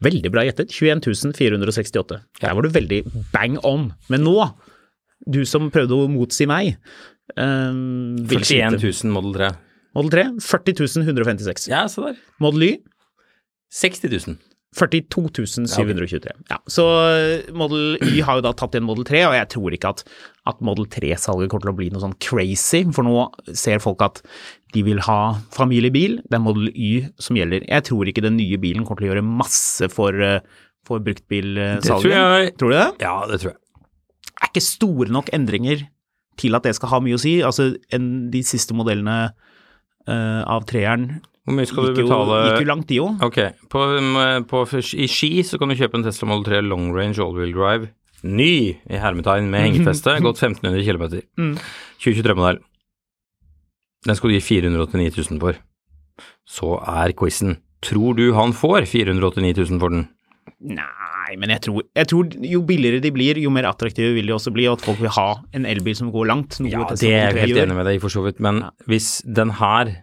Veldig bra gjettet. 21 468. Der var du veldig bang on. Men nå, du som prøvde å motsi meg um,
41 000 Model 3.
Model 3 40 156.
Ja, se der.
Model Y
60 000.
42 723. Ja, så eh, Model Y har jo da tatt igjen Model 3, og jeg tror ikke at, at Model 3-salget kommer til å bli noe sånn crazy, for nå ser folk at de vil ha familiebil. Det er Model Y som gjelder. Jeg tror ikke den nye bilen kommer til å gjøre masse for, eh, for bruktbilsalget.
tror jeg.
Tror du det?
Ja, det tror jeg.
er ikke store nok endringer til at det skal ha mye å si. Altså, en, de siste modellene eh, av treeren
Hvor mye skal
gikk
du
jo,
betale
gikk jo langt, de òg.
Ok, på, um, på, I Ski så kan du kjøpe en Tesla Model 3 Long Range All-Wheel Drive, ny i hermetegn med hengefeste, gått 1500 km. 2023-modell. Den skal du gi 489 000 for. Så er quizen. Tror du han får 489 000 for den?
Nei, men jeg tror, jeg tror jo billigere de blir, jo mer attraktive vil de også bli, og at folk vil ha en elbil som går langt. Noe
Ja,
Tesla
det er
Model
jeg
3
helt
gjør.
enig med deg i, for så vidt. Men hvis den her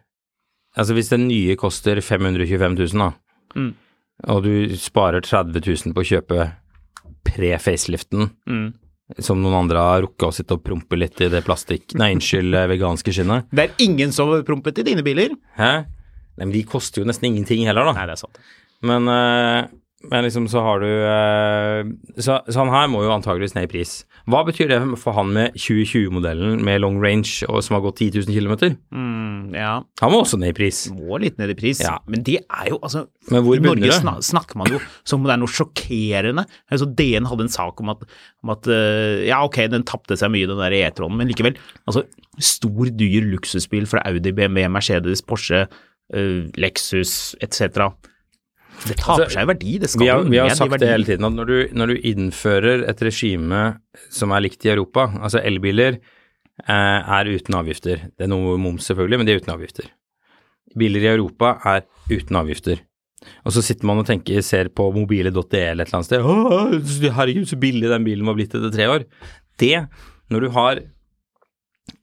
Altså, hvis den nye koster 525 000, da,
Mm.
og du sparer 30 000 på å kjøpe pre-faceliften,
Mm.
som noen andre har rukka å sitte og prompe litt i det plastikk... Nei, unnskyld, eh, veganske skinnet.
Det er ingen som har prompet i dine biler.
Hæ? Nei, men de koster jo nesten ingenting heller, da.
Nei, det er sant.
Men, eh, men liksom så har du eh, så, så han her må jo antageligvis ned i pris. Hva betyr det for han med 2020-modellen med long range og som har gått 10 000 km?
Mm, ja,
Han må også ned i pris.
må litt ned i pris.
Ja.
Men det er jo altså
Men hvor
I Norge
begynner det?
sna snakker man jo som om det er noe sjokkerende. Altså, DN hadde en sak om at, om at eh, ja, ok, den tapte seg mye, den der E-tronen, men likevel. Altså, stor, dyr luksusbil fra Audi, BMW, Mercedes, Porsche, eh, Lexus etc. Det taper
Altså,
seg i verdi. Det skal
Vi har,
jo
vi har
ned i
sagt
verdi.
det hele tiden, at når du, når du innfører et regime som er likt i Europa, altså elbiler eh, er uten avgifter. Det er noe moms selvfølgelig, men de er uten avgifter. Biler i Europa er uten avgifter. Og så sitter man og tenker, ser på mobile.de eller et eller annet sted. Å, herregud, så billig den bilen var blitt etter tre år. Det, når du har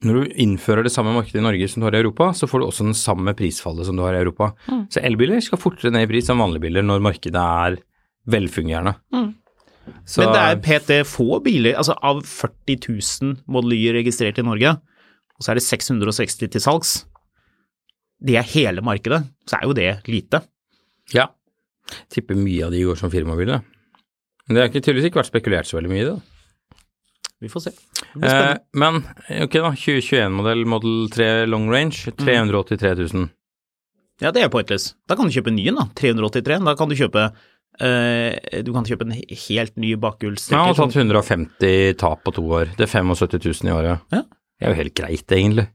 når du innfører det samme markedet i Norge som du har i Europa, så får du også den samme prisfallet som du har i Europa. Så elbiler skal fortere ned i pris enn vanlige biler når markedet er velfungerende. Så,
Men det er PT få biler, altså av 40 000 Model Y registrert i Norge, og så er det 660 til salgs. Det er hele markedet, så er jo det lite.
Ja. Tipper mye av de går som firmabiler. da. Men det har ikke, tydeligvis ikke vært spekulert så veldig mye i det. da.
Vi får se.
Eh, men ok, da. 2021-modell Model 3 Long
Mm.
Range. 383 000.
Ja, det er pointless. Da kan du kjøpe en ny en, da. 383. Da kan du kjøpe eh, du kan kjøpe en he- helt
Men
ny
han har
bakhjulstrekker.
tatt 150 tap på to år. Det er 75 000 i året.
Ja.
Det er jo helt greit, egentlig.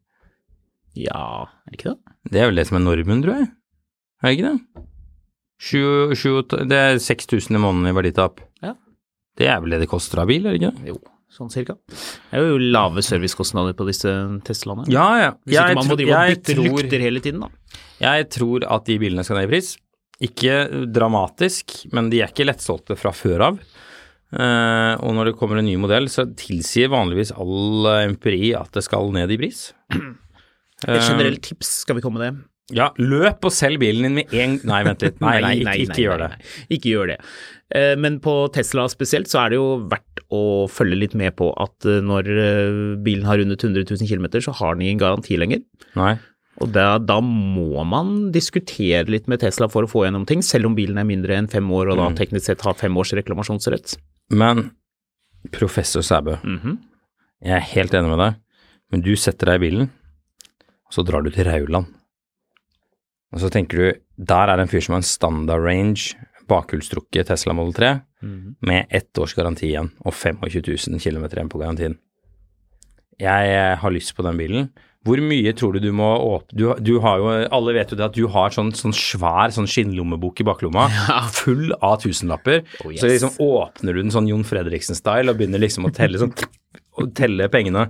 Ja, er det ikke det?
Det er vel det som er normen, tror jeg. Er det ikke det? Sju, sju, det er 6000 i måneden i verditap.
Ja.
Det er vel det det koster av bil, er det ikke det?
Jo, sånn cirka. Det er jo lave servicekostnader på disse Teslaene.
Ja, ja.
Hvis ikke
Jeg,
man
tro,
må drive og
jeg,
bytte
tror,
lukter hele tiden, da.
jeg tror at de bilene skal ned i pris. Ikke dramatisk, men de er ikke lettsolgte fra før av. Eh, og når det kommer en ny modell, så tilsier vanligvis all eh, empiri at det skal ned i pris.
Et
Eh.
generelt tips, skal vi komme med det?
Ja, løp og selg bilen din med en Nei, vent
<laughs>
litt. Nei, nei, ikke, ikke gjør det.
nei, nei. Ikke gjør det. Eh, Men på Tesla spesielt så er det jo verdt å følge litt med på at eh, når eh, bilen har rundet 100 000 km, så har den ingen garanti lenger.
Nei.
Og da, da må man diskutere litt med Tesla for å få gjennom ting, selv om bilen er mindre enn fem år og da
Mm.
teknisk sett har fem års reklamasjonsrett.
Men professor Sæbø, jeg er helt enig med deg, men du setter deg i bilen, og så drar du til Rauland. Og så tenker du, der er det en fyr som har en standard range bakhjulstrukket Tesla Model 3 med ett års garanti igjen og 25 000 km igjen på garantien. Jeg eh, har lyst på den bilen. Hvor mye tror du du må åpne du, du har jo, Alle vet jo det at du har sånn, sånn svær sånn skinnlommebok i baklomma, full av tusenlapper. Så liksom åpner du den sånn Jon Fredriksen-style og begynner liksom å telle sånn <laughs> å telle pengene.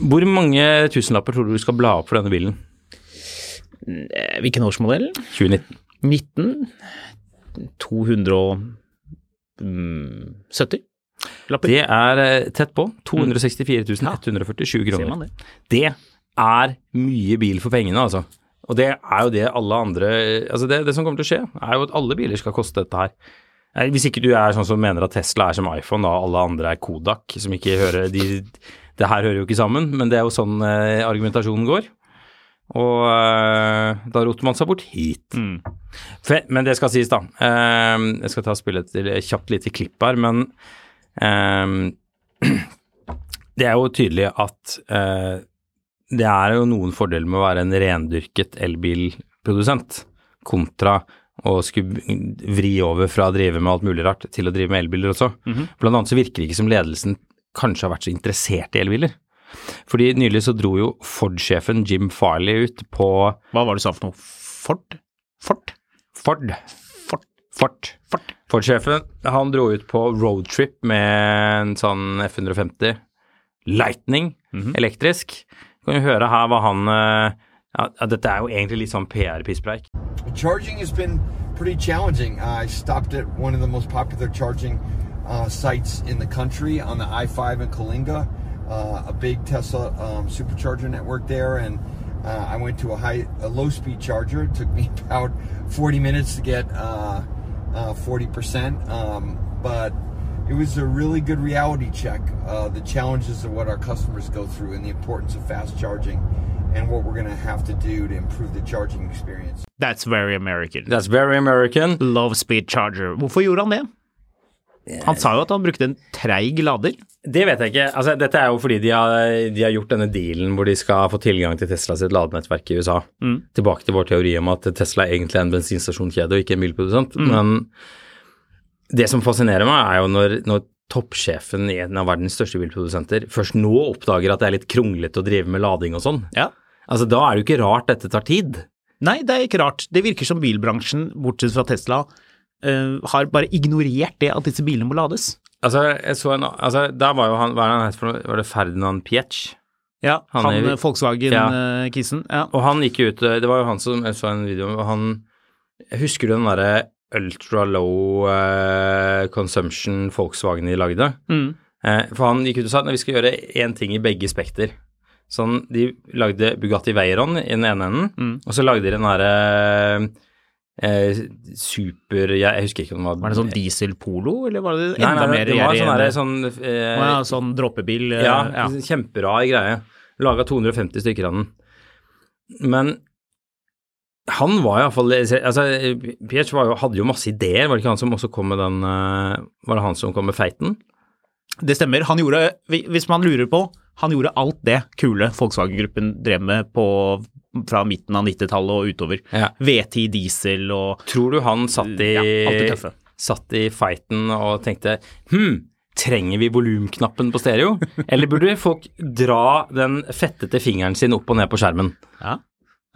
Hvor mange tusenlapper tror du du skal bla opp for denne bilen?
Eh, Hvilken årsmodell?
2019.
19 270 mm, lapper.
Det er eh, tett på. 264 147
Ser man
kroner.
det.
Det er mye bil for pengene, altså. Og det er jo det alle andre Altså, det, det som kommer til å skje, er jo at alle biler skal koste dette her. Eh, Hvis ikke du er sånn som mener at Tesla er som iPhone, da, og alle andre er Kodak, som ikke hører de, Det her hører jo ikke sammen, men det er jo sånn eh, argumentasjonen går. Og eh, da roter man seg bort hit. Fe- Men det skal sies, da. Ehm, jeg skal ta og spille et til- kjapt lite klipp her, men ehm, Det er jo tydelig at eh, det er jo noen fordeler med å være en rendyrket elbilprodusent, kontra å skulle vri over fra å drive med alt mulig rart til å drive med elbiler også. Blant annet så virker det ikke som ledelsen kanskje har vært så interessert i elbiler. Fordi nylig så dro jo Ford-sjefen Jim Farley ut på
Hva var det du sa for noe? Ford? Ford?
Ford. Ford. Ford. Ford-sjefen, han dro ut på roadtrip med en sånn F-150 Lightning elektrisk. Kan vi høre her hva han eh, ja, ja, Dette er jo egentlig litt sånn PR-pisspreik.
Charging has been pretty challenging. Uh, I stopped at one of the most popular charging uh, sites in the country on the I 5 in Kalinga, uh, a big Tesla um, supercharger network there. And uh, I went to a high, a low speed charger. It took <laughs> me about 40 minutes to get uh, uh, 40%. Um, but it was a really good reality check uh, the challenges of what our customers go through and the importance of fast charging and what we're going to have to do to improve the charging experience.
That's very American.
That's very American.
Love speed charger. Hvorfor gjorde han det? Han sa jo at han brukte en treig lader.
Det vet jeg ikke. Altså, dette er jo fordi de har, de har gjort denne dealen hvor de skal få tilgang til Tesla sitt ladenettverk i USA. Tilbake til vår teori om at Tesla egentlig er en bensinstasjonskjede og ikke en bilprodusent. Men det som fascinerer meg, er jo når, når toppsjefen i en av verdens største bilprodusenter først nå oppdager at det er litt kronglete å drive med lading og sånn.
Ja.
Altså, da er det jo ikke rart dette tar tid.
Nei, det er ikke rart. Det virker som bilbransjen, bortsett fra Tesla, eh, har bare ignorert det at disse bilene må lades.
Altså, jeg så en, altså, der var jo han, hva er det han het for noe, var det Ferdinand Pietsch?
Ja,
han
han,
er- Ja.
Volkswagen-kissen. Ja.
Og han gikk jo ut Det var jo han som jeg så en video om og han Husker du den derre ultra low eh, consumption Volkswagen de lagde?
Mm.
Eh, for han gikk ut og sa at «Nei, vi skal gjøre én ting i begge spekter. Sånn, de lagde Bugatti Veyron i den ene enden,
Mm.
og så lagde de den derre eh, super jeg, jeg husker ikke om den var
Var det sånn dieselpolo, eller var det
Nei,
enda
nei,
mer
det var sånn derre
gjerrig?
sånn eh,
ja, sånn droppebil. eh,
ja,
ja.
kjemperar greie. Laga 250 stykker av den. Men han var iallfall altså, Pietsch var jo, hadde jo masse ideer, var det ikke han som også kom med den eh, Var det han som kom med feiten?
Det stemmer. Han gjorde, hvis man lurer på, han gjorde alt det kule Volkswagen-gruppen drev med på, fra midten av 90-tallet og utover.
Ja.
V10 diesel og
Tror du han satt i,
Ja, alt det tøffe.
satt i feiten og tenkte Hm, trenger vi volumknappen på stereo? Eller burde folk dra den fettete fingeren sin opp og ned på skjermen?
Ja.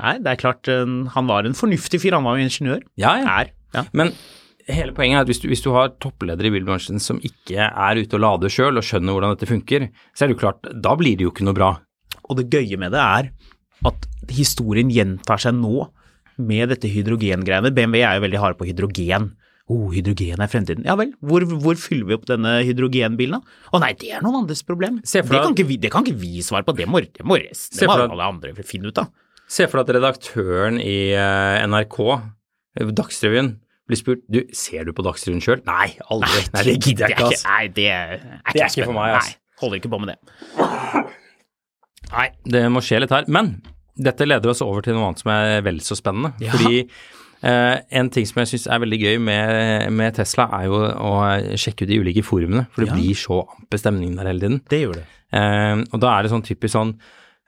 Nei, det er klart, en- han var en fornuftig fyr. Han var jo ingeniør.
Ja, ja.
Er. Ja.
Men hele poenget er at hvis du, hvis du har toppledere i bilbransjen som ikke er ute og lader sjøl og skjønner hvordan dette funker, så er det jo klart, da blir det jo ikke noe bra.
Og det gøye med det er at historien gjentar seg nå med dette hydrogengreiene. BMW er jo veldig harde på hydrogen. Oh, hydrogen er fremtiden. Ja vel, hvor, hvor fyller vi opp denne hydrogenbilen da? Å nei, det er noen andres problem.
Se
Det
for
kan,
deg-
ikke vi, det kan ikke vi svare på, det må, det må resten
Se
det må
for deg-
alle andre finne ut av.
Se for deg at redaktøren i eh, NRK, eh, Dagsrevyen, blir spurt du, ser du på Dagsrevyen sjøl? Nei, aldri. Nei, det gidder jeg ikke, ass.
Nei, det er ikke,
Det er ikke for meg, ass.
Nei, holder ikke på med det.
Nei, det må skje litt her. Men Dette leder oss over til noe annet som er vel så spennende. Fordi eh, en ting som jeg syns er veldig gøy med, med Tesla, er jo å sjekke ut de ulike forumene. For det blir så amper stemning der hele tiden.
Det gjør det.
Eh, og da er det sånn typisk sånn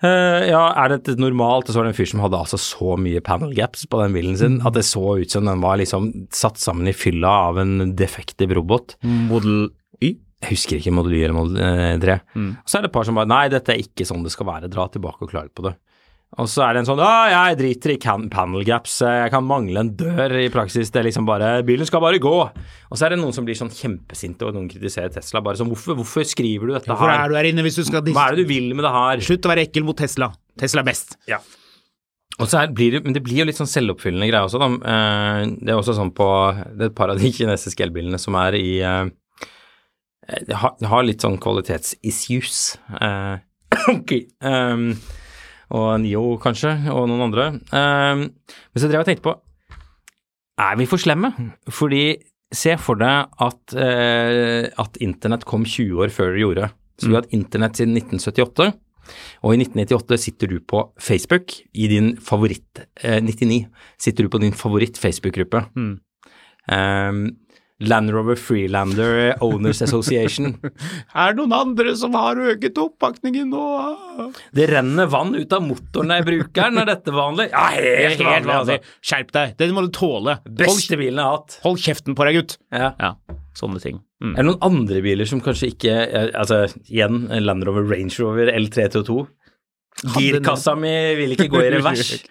eh, ja, er dette normalt? Og så var det en fyr som hadde altså så mye panel gaps på den bilen sin at det så ut som den var liksom satt sammen i fylla av en defektiv robot.
Model Y.
Jeg husker ikke Model Y eller Model eh, 3.
Mm.
Og så er det et par som bare Nei, dette er ikke sånn det skal være. Dra tilbake og klage på det. Og så er det en sånn Å, jeg driter i can panel gaps. eh, Jeg kan mangle en dør i praksis. Det er liksom bare Bilen skal bare gå. Og så er det noen som blir sånn kjempesinte, og noen kritiserer Tesla. Bare sånn Hvorfor, hvorfor skriver du dette
Hvorfor
her?
er du her inne hvis du skal
Hva er det du vil med det her?
Slutt å være ekkel mot Tesla. Tesla er best.
Og så er, blir det, men det blir jo litt sånn selvoppfyllende greie også, da. Eh, Det er også sånn på Det er et par av de <laughs> kinesiske elbilene som er i eh, Det har, det har litt sånn kvalitetsissues. Eh, <coughs> ok. Ehm, og Nio, kanskje, og noen andre. Ehm, men så drev jeg og tenkte på Er vi for slemme? Fordi se for deg at, eh, at internett kom 20 år før det gjorde. Så vi har hatt internett siden 1978. Og i 1998 sitter du på Facebook i din favoritt eh, 99 sitter du på din favoritt Facebook-gruppe. Ehm, Land Rover Freelander Owners Association.
Er det noen andre som har øket oppakningen nå?
Det renner vann ut av motoren jeg bruker, er dette vanlig? Ja,
Det
helt,
er helt vanlig.
altså.
Skjerp deg. Det må du tåle.
Beste
Hold,
bilen jeg har hatt.
hold kjeften på deg, gutt.
Ja.
Ja, sånne ting. <laughs> Mm.
Er det noen andre biler som kanskje ikke eh, Altså, igjen, Land Rover Range Rover L322. Girkassa mi vil ikke gå i revers. <laughs>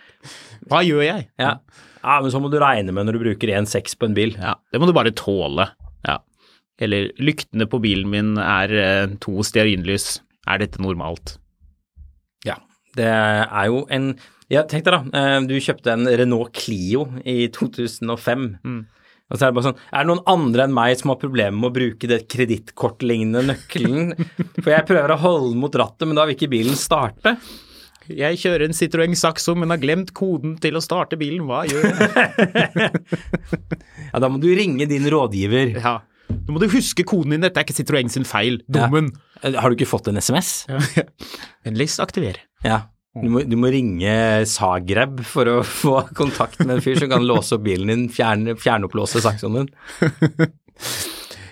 Hva gjør jeg?
Ja. ja, men så må du regne med når du bruker 1.6 på en bil.
Ja, det må du bare tåle. Ja. Eller lyktene på bilen min er eh, to stearinlys. Er dette normalt?
Ja, det er jo en Ja, tenk deg da, eh, du kjøpte en Renault Clio i 2005. Og så er det bare sånn Er det noen andre enn meg som har problemer med å bruke det kredittkortlignende nøkkelen? For jeg prøver å holde mot rattet, men da vil ikke bilen starte.
Jeg kjører en Citroën Saxo, men har glemt koden til å starte bilen. Hva gjør
<laughs>
jeg?
Ja, da må du ringe din rådgiver.
Ja. Nå må du huske koden din, dette er ikke Citroën sin feil. Dummen.
Eh, Har du ikke fått en SMS? Ja.
Vennligst aktiver.
Du, må, du må ringe Zagreb for å <laughs> få kontakt med en fyr som kan låse opp bilen din, fjerne, fjernopplåse saksoen din.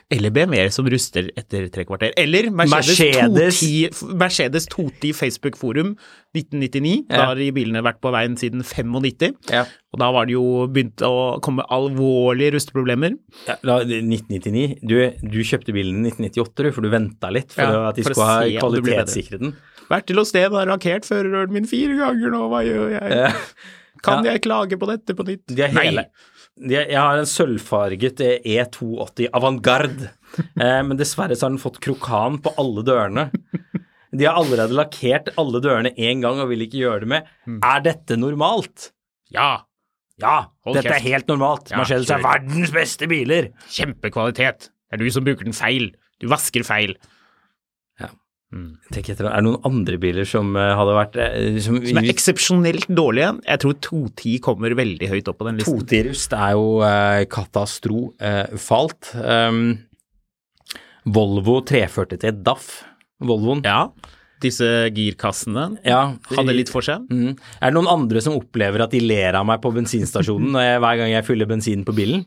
Eller BMR som ruster etter tre kvarter. Eller Mercedes,
Mercedes.
210, Mercedes 210 Facebook-forum 1999.
Ja.
Da har de bilene vært på veien siden 95.
Ja.
Og da var det jo begynt å komme alvorlige rusteproblemer.
Ja, la- 1999. Du, du kjøpte bilen i 1998, du, for du venta litt for
Ja,
at de
for å
skulle ha
se om det ble bedre.
kvalitetssikre den.
Vært til å sted og rankert førerøren min fire ganger nå, hva gjør jeg?
Ja.
Kan
Ja.
jeg klage på dette på nytt?
De er hele. De er, jeg har en sølvfarget eh, E280 Avantgarde, eh, men dessverre så har den fått krokan på alle dørene. De har allerede lakkert alle dørene én gang og vil ikke gjøre det med.
Hmm.
Er dette normalt?
Ja,
Ja,
Hold
dette er
kjeft.
helt normalt.
Ja,
Mercedes er
kjør.
verdens beste biler.
kjempekvalitet. Det er du som bruker den feil. Du vasker feil.
Tenk etter, er det noen andre biler som eh, hadde vært eh, Som,
Som er eksepsjonelt dårlige. Jeg tror 210 kommer veldig høyt opp på den listen.
Totirust er jo eh, katastrofalt. Um, Volvo 343 DAF, Volvoen.
Ja, disse girkassene
Ja,
hadde litt for seg.
Mm. Er det noen andre som opplever at de ler av meg på bensinstasjonen når jeg, hver gang jeg fyller bensin på bilen?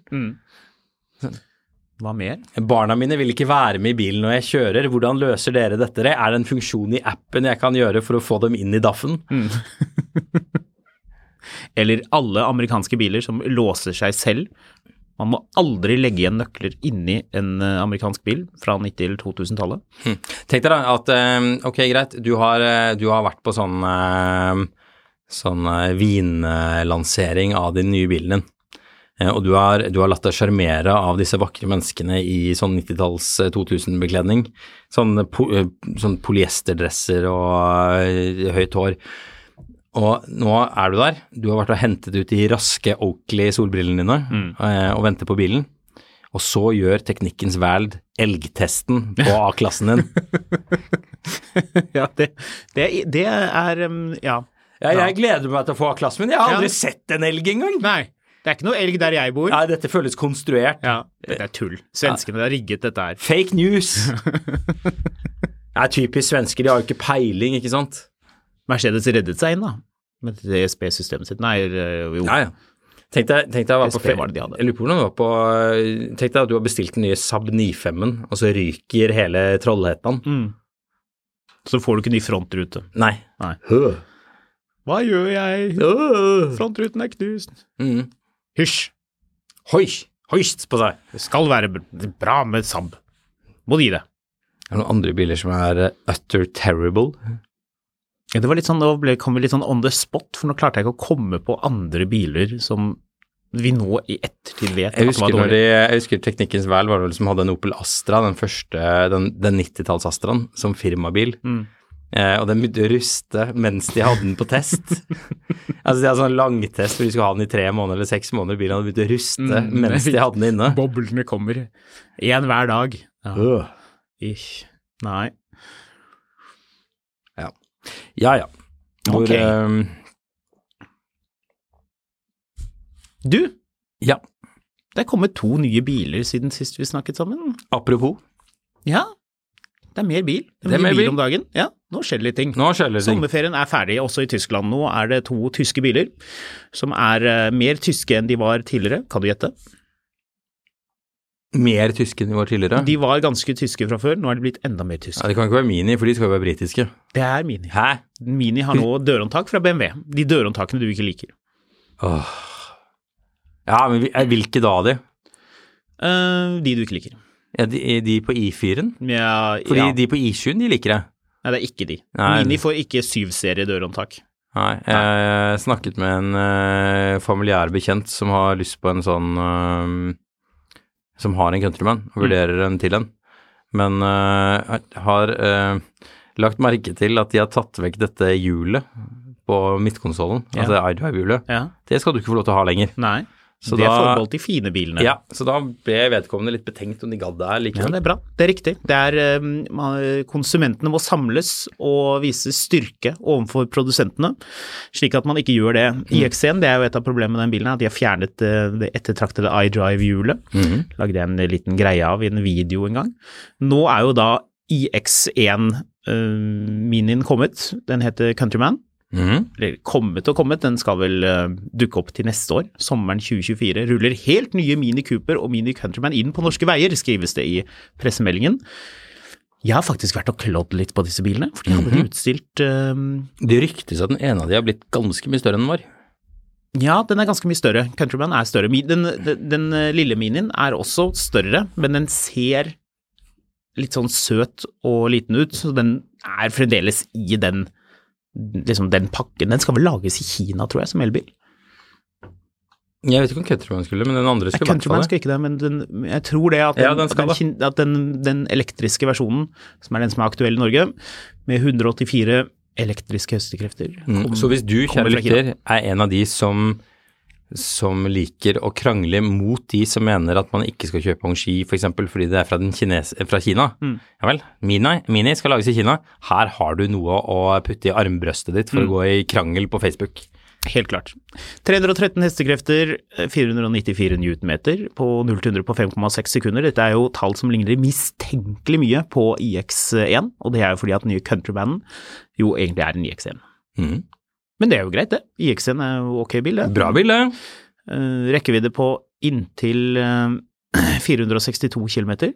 Hva mer?
Barna mine vil ikke være med i bilen når jeg kjører. Hvordan løser dere dette? Er det en funksjon i appen jeg kan gjøre for å få dem inn i DAF-en?
Eller alle amerikanske biler som låser seg selv. Man må aldri legge igjen nøkler inni en eh, amerikansk bil fra 90- eller 2000-tallet.
Tenk deg da at eh, ok, greit, du har, eh, du har vært på sånn eh, sånn eh, vinlansering av din nye bilen din. Eh, Og du har, du har latt deg sjarmere av disse vakre menneskene i sånn 90-talls 2000-bekledning. Sånn, po, eh, sånn polyesterdresser og eh, høyt hår. Og nå er du der. Du har vært og hentet ut de raske Oakley-solbrillene dine eh, og venter på bilen. Og så gjør teknikkens verd elgtesten på A-klassen din.
Ja, det, det, det er em, Ja.
Ja, jeg gleder meg til å få A-klassen min. Jeg har
Ja.
aldri sett en elg engang.
Nei, det er ikke noe elg der jeg bor.
Nei, dette føles konstruert.
Ja, Dette er tull. Svenskene har rigget dette her.
Fake news. <laughs> Det er typisk svensker, de har jo ikke peiling, ikke sant.
Mercedes reddet seg inn, da. med DSB-systemet sitt. Nei, øh, jo.
Ja, ja. Tenk deg, tenk deg å være på
SB
fe-
var det de hadde.
Jeg lurer på hvordan du var på eh, Tenk deg at du har bestilt den nye Saab 95-en, og så ryker hele trollhetaen.
Så får du ikke ny frontrute.
Nei.
Nei.
Hø.
Hva gjør jeg?
Øh.
Frontruten er knust.
Mm.
Hysj.
Hoi. Hoist på seg.
Det skal være b- bra med Saab. Må du gi det.
Er det noen andre biler som er eh, utter terrible?
Ja, det var litt sånn, da ble, kom vi litt sånn on the spot, for nå klarte jeg ikke å komme på andre biler som vi nå i ettertid vet
Jeg
at
husker,
var
når de,
dårlige.
jeg husker Teknikkens Vel var det vel som hadde en Opel Astra, den første, den, den 90-talls Astraen, som firmabil.
Mm.
Eh, og den begynte å ruste mens de hadde den på
<laughs>
test. altså De hadde sånn langtest hvor de skulle ha den i tre måneder eller seks måneder. Bilen hadde begynt å ruste
Mm,
mens de
det fikk-
hadde den inne.
Boblene kommer. Én hver dag. Ja.
Øh.
Ikk. Nei.
Ja ja. Hvor,
Ok.
eh,
Du,
ja,
det er kommet to nye biler siden sist vi snakket sammen.
apropos.
Ja, det er mer bil. Det er, mer bil, om dagen. Ja, nå skjer det litt ting.
Nå skjer det ting.
Sommerferien er ferdig, også i Tyskland. Nå er det to tyske biler som er eh, mer tyske enn de var tidligere. Kan du gjette?
Mer tyske enn de var tidligere.
De var ganske tyske fra før, nå er de blitt enda mer
ja,
tyske.
det kan ikke være Mini, for de skal jo være britiske.
Det er Mini.
Hæ?
Mini har nå dørhåndtak fra BMW. De dørhåndtakene du ikke liker.
Åh. Ja, men vi- eh, hvilke da, de?
Eh, de du ikke liker.
Ja, de, de på I4-en?
Ja,
Fordi
ja.
de på I7-en, de liker det.
Nei, det er ikke de.
Nei.
Mini får ikke syvserie dørhåndtak.
Nei. Jeg snakket med en eh, familiær bekjent som har lyst på en sånn eh, Som har en countryman,
Mm.
og vurderer en til en. Men eh, har eh, lagt merke til at de har tatt vekk dette hjulet på midtkonsollen,
Ja.
altså iDrive-hjulet.
Ja.
Det skal du ikke få lov til å ha lenger.
Nei.
Så
det er
da-
forbeholdt de fine bilene.
Ja, så da ble vedkommende litt betenkt om de gadd det her
Ja,
likevel.
det er bra. Det er riktig. Det er, um, ma- konsumentene må samles og vise styrke overfor produsentene, slik at man ikke gjør det. IXC-en, det er jo et av problemene med den bilen, her, at de har fjernet eh, det ettertraktede iDrive-hjulet. Lagde jeg en liten greie av i en video en gang. Nå er jo da IX1-minien kommet. Den heter Countryman.
Mhm.
Eller kommet og kommet, den skal vel eh, dukke opp til neste år. Sommeren 2024 ruller helt nye Mini Cooper og Mini Countryman inn på norske veier, skrives det i pressemeldingen. Jeg har faktisk vært og klådd litt på disse bilene, for de hadde de utstilt eh,
Det ryktes at den ene av de har blitt ganske mye større enn den var.
Ja, den er ganske mye større. Countryman er større. Mi- Den, den, den eh, lille minien er også større, men den ser litt sånn søt og liten ut, så den er fremdeles i den, liksom den pakken. Den skal vel lages i Kina, tror jeg, som elbil.
Jeg vet ikke om Countryman skulle, men den andre skulle i hvert fall
Countryman
det.
skal ikke det, men den, jeg tror det at, den,
Ja, den skal
at, den, kin- at den, den elektriske versjonen, som er den som er aktuell i Norge, med 184 elektriske høstekrefter
Mm.
kom-
Så hvis du,
kommer
kjære
fra Kina.
lytter, er en av de som, som liker å krangle mot de som mener at man ikke skal kjøpe Hongxi f.eks. fordi det er fra, den kines fra Kina, ja vel, Mini, Mini skal lages i Kina. Her har du noe å putte i armbrøstet ditt for å gå i krangel på Facebook.
Helt klart. 313 hestekrefter, 494 newtonmeter på 0 til 100 på 5,6 sekunder. Dette er jo tall som ligner mistenkelig mye på IX1, og det er jo fordi at den nye countrybanden jo egentlig er en IX1.
Mhm.
Men det er jo greit, det. IX1 er jo ok bil, det.
Bra bilde!
Eh, rekkevidde på inntil eh, <clears throat> 462 km.
Det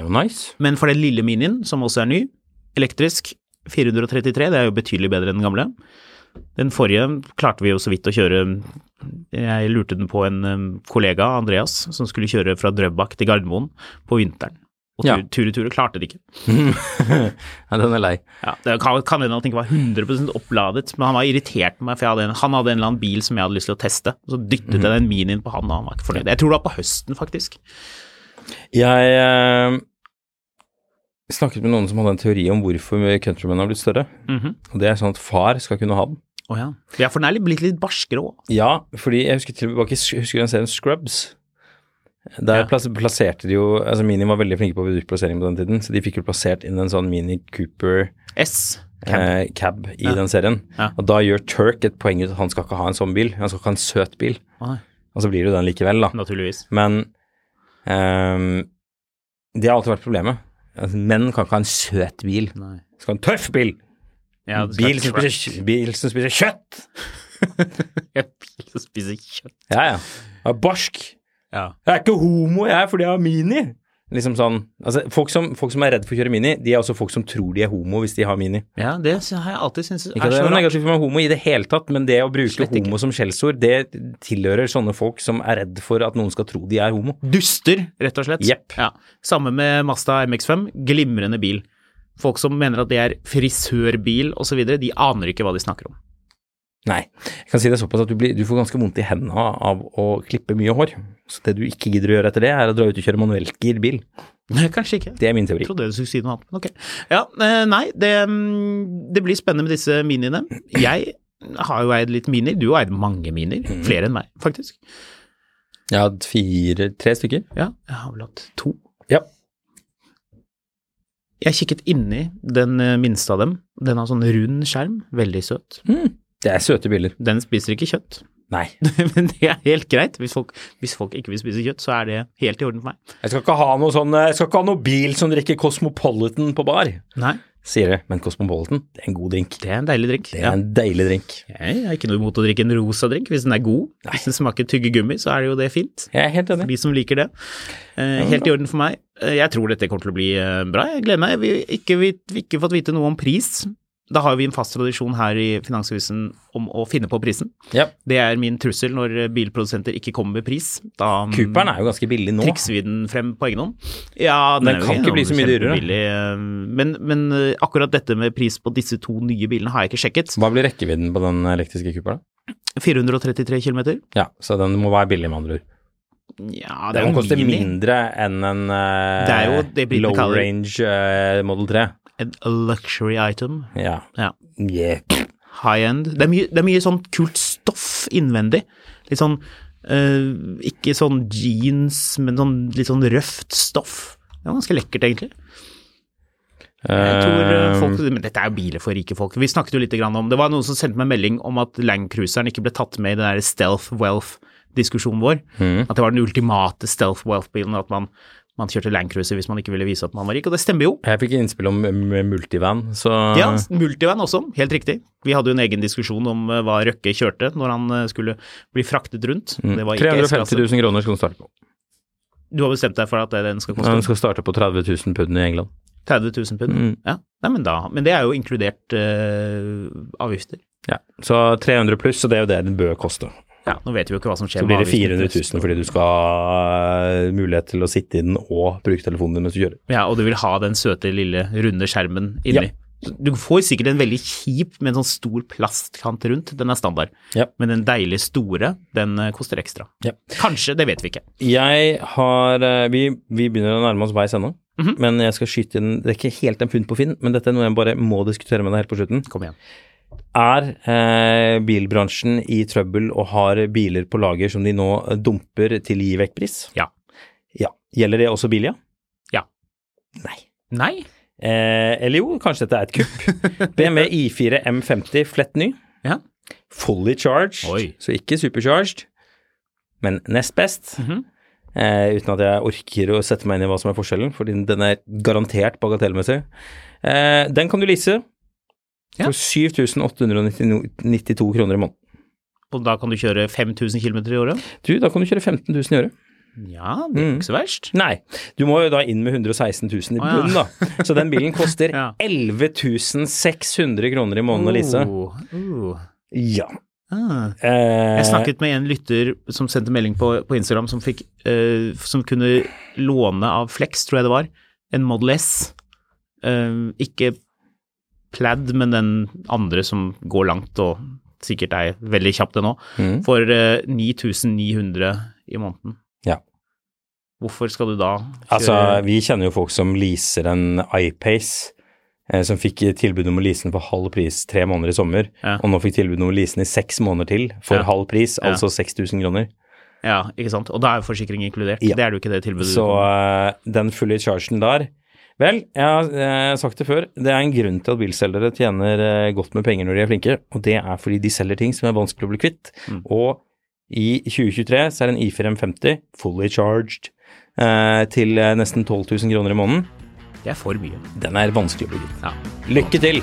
er jo nice. <laughs>
Men for den lille minien, som også er ny, elektrisk, 433, det er jo betydelig bedre enn den gamle. Den forrige klarte vi jo så vidt å kjøre Jeg lurte den på en eh, kollega, Andreas, som skulle kjøre fra Drøbak til Gardermoen på vinteren. Og
Ja.
tur- tur i tur klarte det ikke.
ja, den er lei.
Ja, det kan kan hende at den ikke var 100 oppladet, men han var irritert på meg, for jeg hadde en, han hadde en eller annen bil som jeg hadde lyst til å teste. og Så dyttet jeg den minien på han, og han var ikke fornøyd. Jeg tror det var på høsten, faktisk.
Jeg eh, snakket med noen som hadde en teori om hvorfor Countryman har blitt større. Og det er sånn at far skal kunne ha den.
Å ja. ja, for den er litt- blitt litt barskere òg.
Ja, fordi jeg husker tilbake jeg husker den serien Scrubs. Der
Ja.
plass- plasserte de jo altså Mini var veldig flinke på produktplassering på den tiden, så de fikk jo plassert inn en sånn Mini Cooper
S.
cab, eh, cab i den serien.
Ja.
Og da gjør Turk et poeng ut at han skal ikke ha en sånn bil, han skal ikke ha en søt bil.
Å nei,
Og så blir det jo den likevel, da.
Naturligvis.
Men ehm, det har alltid vært problemet. Altså, menn kan ikke ha en søt bil,
Nei.
de skal ha en tøff bil!
Ja, det skal
Bil som,
være truck.
spiser, bil som spiser kjøtt!
<laughs> Jeg vil jo spise kjøtt.
Ja, ja. Jeg er barsk.
Ja.
Jeg er ikke homo, jeg, er fordi jeg har mini. Liksom sånn, altså folk som, folk som er redd for å kjøre mini, de er også folk som tror de er homo hvis de har mini.
det har jeg alltid syntes
Ikke at det er noe negativt med homo i det hele tatt, men det å bruke
Slett ikke.
homo som skjellsord, det tilhører sånne folk som er redd for at noen skal tro de er homo.
Duster, rett og slett.
Jepp.
Ja. Samme med Mazda MX5, glimrende bil. Folk som mener at det er frisørbil osv., de aner ikke hva de snakker om.
Nei. Jeg kan si det såpass at du, blir, du får ganske vondt i hendene av å klippe mye hår. Så det du ikke gidder å gjøre etter det, er å dra ut og kjøre manuellgirbil.
<laughs> Nei, kanskje ikke.
Det er min
Jeg
teori.
trodde du skulle si noe annet, men ok. Ja, eh, nei, det, mm, det blir spennende med disse miniene. Jeg har jo eid litt minier, du har eid mange minier, flere enn meg, faktisk.
Jeg har hatt fire, tre stykker.
Ja, jeg har vel hatt to.
Ja.
Jeg kikket inni den eh, minste av dem. Den har sånn rund skjerm, veldig søt.
Mm. Det er søte biler.
Den spiser ikke kjøtt, <laughs>
Nei.
men det er helt greit. Hvis folk, hvis folk ikke vil spise kjøtt, så er det helt i orden for meg.
Jeg skal ikke ha noe sånn, jeg skal ikke ha noe bil som drikker Cosmopolitan på bar,
Nei,
sier det. Men Cosmopolitan, det er en god drink.
det er en deilig drikk.
Det er en deilig drink.
Jeg har ikke noe imot å drikke en rosa drink hvis den er god. Hvis den smaker tyggegummi, så er det jo det fint.
Jeg er helt
For
enig.
de som liker det. Eh, helt i orden for meg. Eh, jeg tror dette kommer til å bli eh, bra. Jeg gleder meg. Vi har ikke, vi, vi ikke fått vite noe om pris. Da har vi en fast tradisjon her i Finansavisen om å finne på prisen.
Ja.
Det er min trussel når eh, bilprodusenter ikke kommer med pris. Da mm,
Cooperen er jo ganske billig nå.
trikser vi den frem på egen hånd. Ja,
Den
er jo
kan ikke bli så mye dyrere.
kjempebillig, eh, Men, men eh, akkurat dette med pris på disse to nye bilene har jeg ikke sjekket.
Hva blir rekkevidden på den elektriske cooperen?
433 km?
Ja, så den må være billig, med andre ord.
Ja, det er
Den
jo en
koster
Mini.
mindre enn en eh,
Det er jo det britene
low
kaller-
range eh, Model 3.
En luxury item.
Ja.
Ja.
Yeah.
high-end. Det, er mye- det er mye sånn kult stoff innvendig. Litt sånn eh, Ikke sånn jeans, men sånn litt sånn røft stoff. Det var ganske lekkert, egentlig. Jeg tror
Ehm.
eh, folk, Men dette er jo biler for rike folk. Vi snakket jo litt grann om Det var noen som sendte meg en melding om at Langcruiseren ikke ble tatt med i den der stealth wealth-diskusjonen vår. At det var den ultimate stealth wealth-bilen. At man, man kjørte Langcruiser hvis man ikke ville vise at man var rik. Og det stemmer jo.
Jeg fikk innspill om eh, multivan, så
Ja, multivan også, helt riktig. Vi hadde jo en egen diskusjon om eh, hva Røkke kjørte når han eh, skulle bli fraktet rundt. Det var ikke
350 000
S-klasse.
kroner skal den starte på.
Du har bestemt deg for at eh, den skal
Den
koste
skal starte på 30 000 pund i England.
30 000 pund? Ja, Nei, men da. Men det er jo inkludert eh, avgifter.
Ja. Så 300 pluss, så det er jo det den bør koste.
Ja, Nå vet vi jo ikke hva som skjer
Så blir det
avgiftene
400
til høsten.
000 fordi du skal ha eh, mulighet til å sitte i den og bruke telefonen din mens du kjører.
Ja, og du vil ha den søte, lille, runde skjermen inni.
Ja.
Du får sikkert en veldig kjip med en sånn stor plastkant rundt, den er standard.
Ja.
Men den deilige store, den eh, koster ekstra.
Ja.
Kanskje, det vet vi ikke.
Jeg har eh, Vi, vi begynner å nærme oss veis ennå,
Mhm.
men jeg skal skyte inn Det er ikke helt en funn på Finn, men dette er noe jeg bare må diskutere med deg helt på slutten.
Kom igjen.
Er eh, bilbransjen i trøbbel og har biler på lager som de nå dumper til gi vekk-pris?
Ja.
Ja. Gjelder det også Bilia?
Ja.
Nei.
Nei?
Eh, eller jo, kanskje dette er et
<laughs>
kupp. BMW I4 M50 flett ny.
Ja.
Fully charged,
Oi.
så ikke supercharged, men nest best.
Mhm.
eh, uten at jeg orker å sette meg inn i hva som er forskjellen, for den er garantert bagatellmessig. Eh, den kan du lease
Ja.
for 7892 kroner i måneden.
Og da kan du kjøre 5000 km i året?
Du, da kan du kjøre 15 000 i året.
Ja, det
Mm.
er ikke så verst.
Nei, du må jo da inn med 116 000 i
Å, ja.
bunnen, da. Så den
<laughs>
bilen koster
Ja.
11 600 kroner i måneden å lease.
Oh, oh.
Ja.
Ah.
Eh,
Jeg snakket med en lytter som sendte melding på, på Instagram, som, fikk, eh, som kunne låne av Flex, tror jeg det var, en Model S. Eh, ikke Plaid, men den andre som går langt og sikkert er veldig kjapp det nå,
Mm.
for eh, 9900 i måneden.
Ja.
Hvorfor skal du da kjøre
Altså, vi kjenner jo folk som leaser en iPace, eh, som fikk tilbud om å lease den for halv pris tre måneder i sommer,
Ja.
og nå fikk tilbud om å lease den i seks måneder til for
Ja.
halv pris,
Ja.
altså 6000 kroner.
Ja, ikke sant. Og da er jo forsikring inkludert.
Ja.
Det er jo ikke det tilbudet
Så
du får.
eh, den fulle chargen der Vel, jeg har eh, sagt det før, det er en grunn til at bilselgere tjener eh, godt med penger når de er flinke, og det er fordi de selger ting som er vanskelig å bli kvitt. Og i 2023 så er en i4 M50 fully charged eh, til eh, nesten 12 000 kroner i måneden.
Det er for mye.
Den er vanskelig å bli kvitt.
Ja.
Lykke til!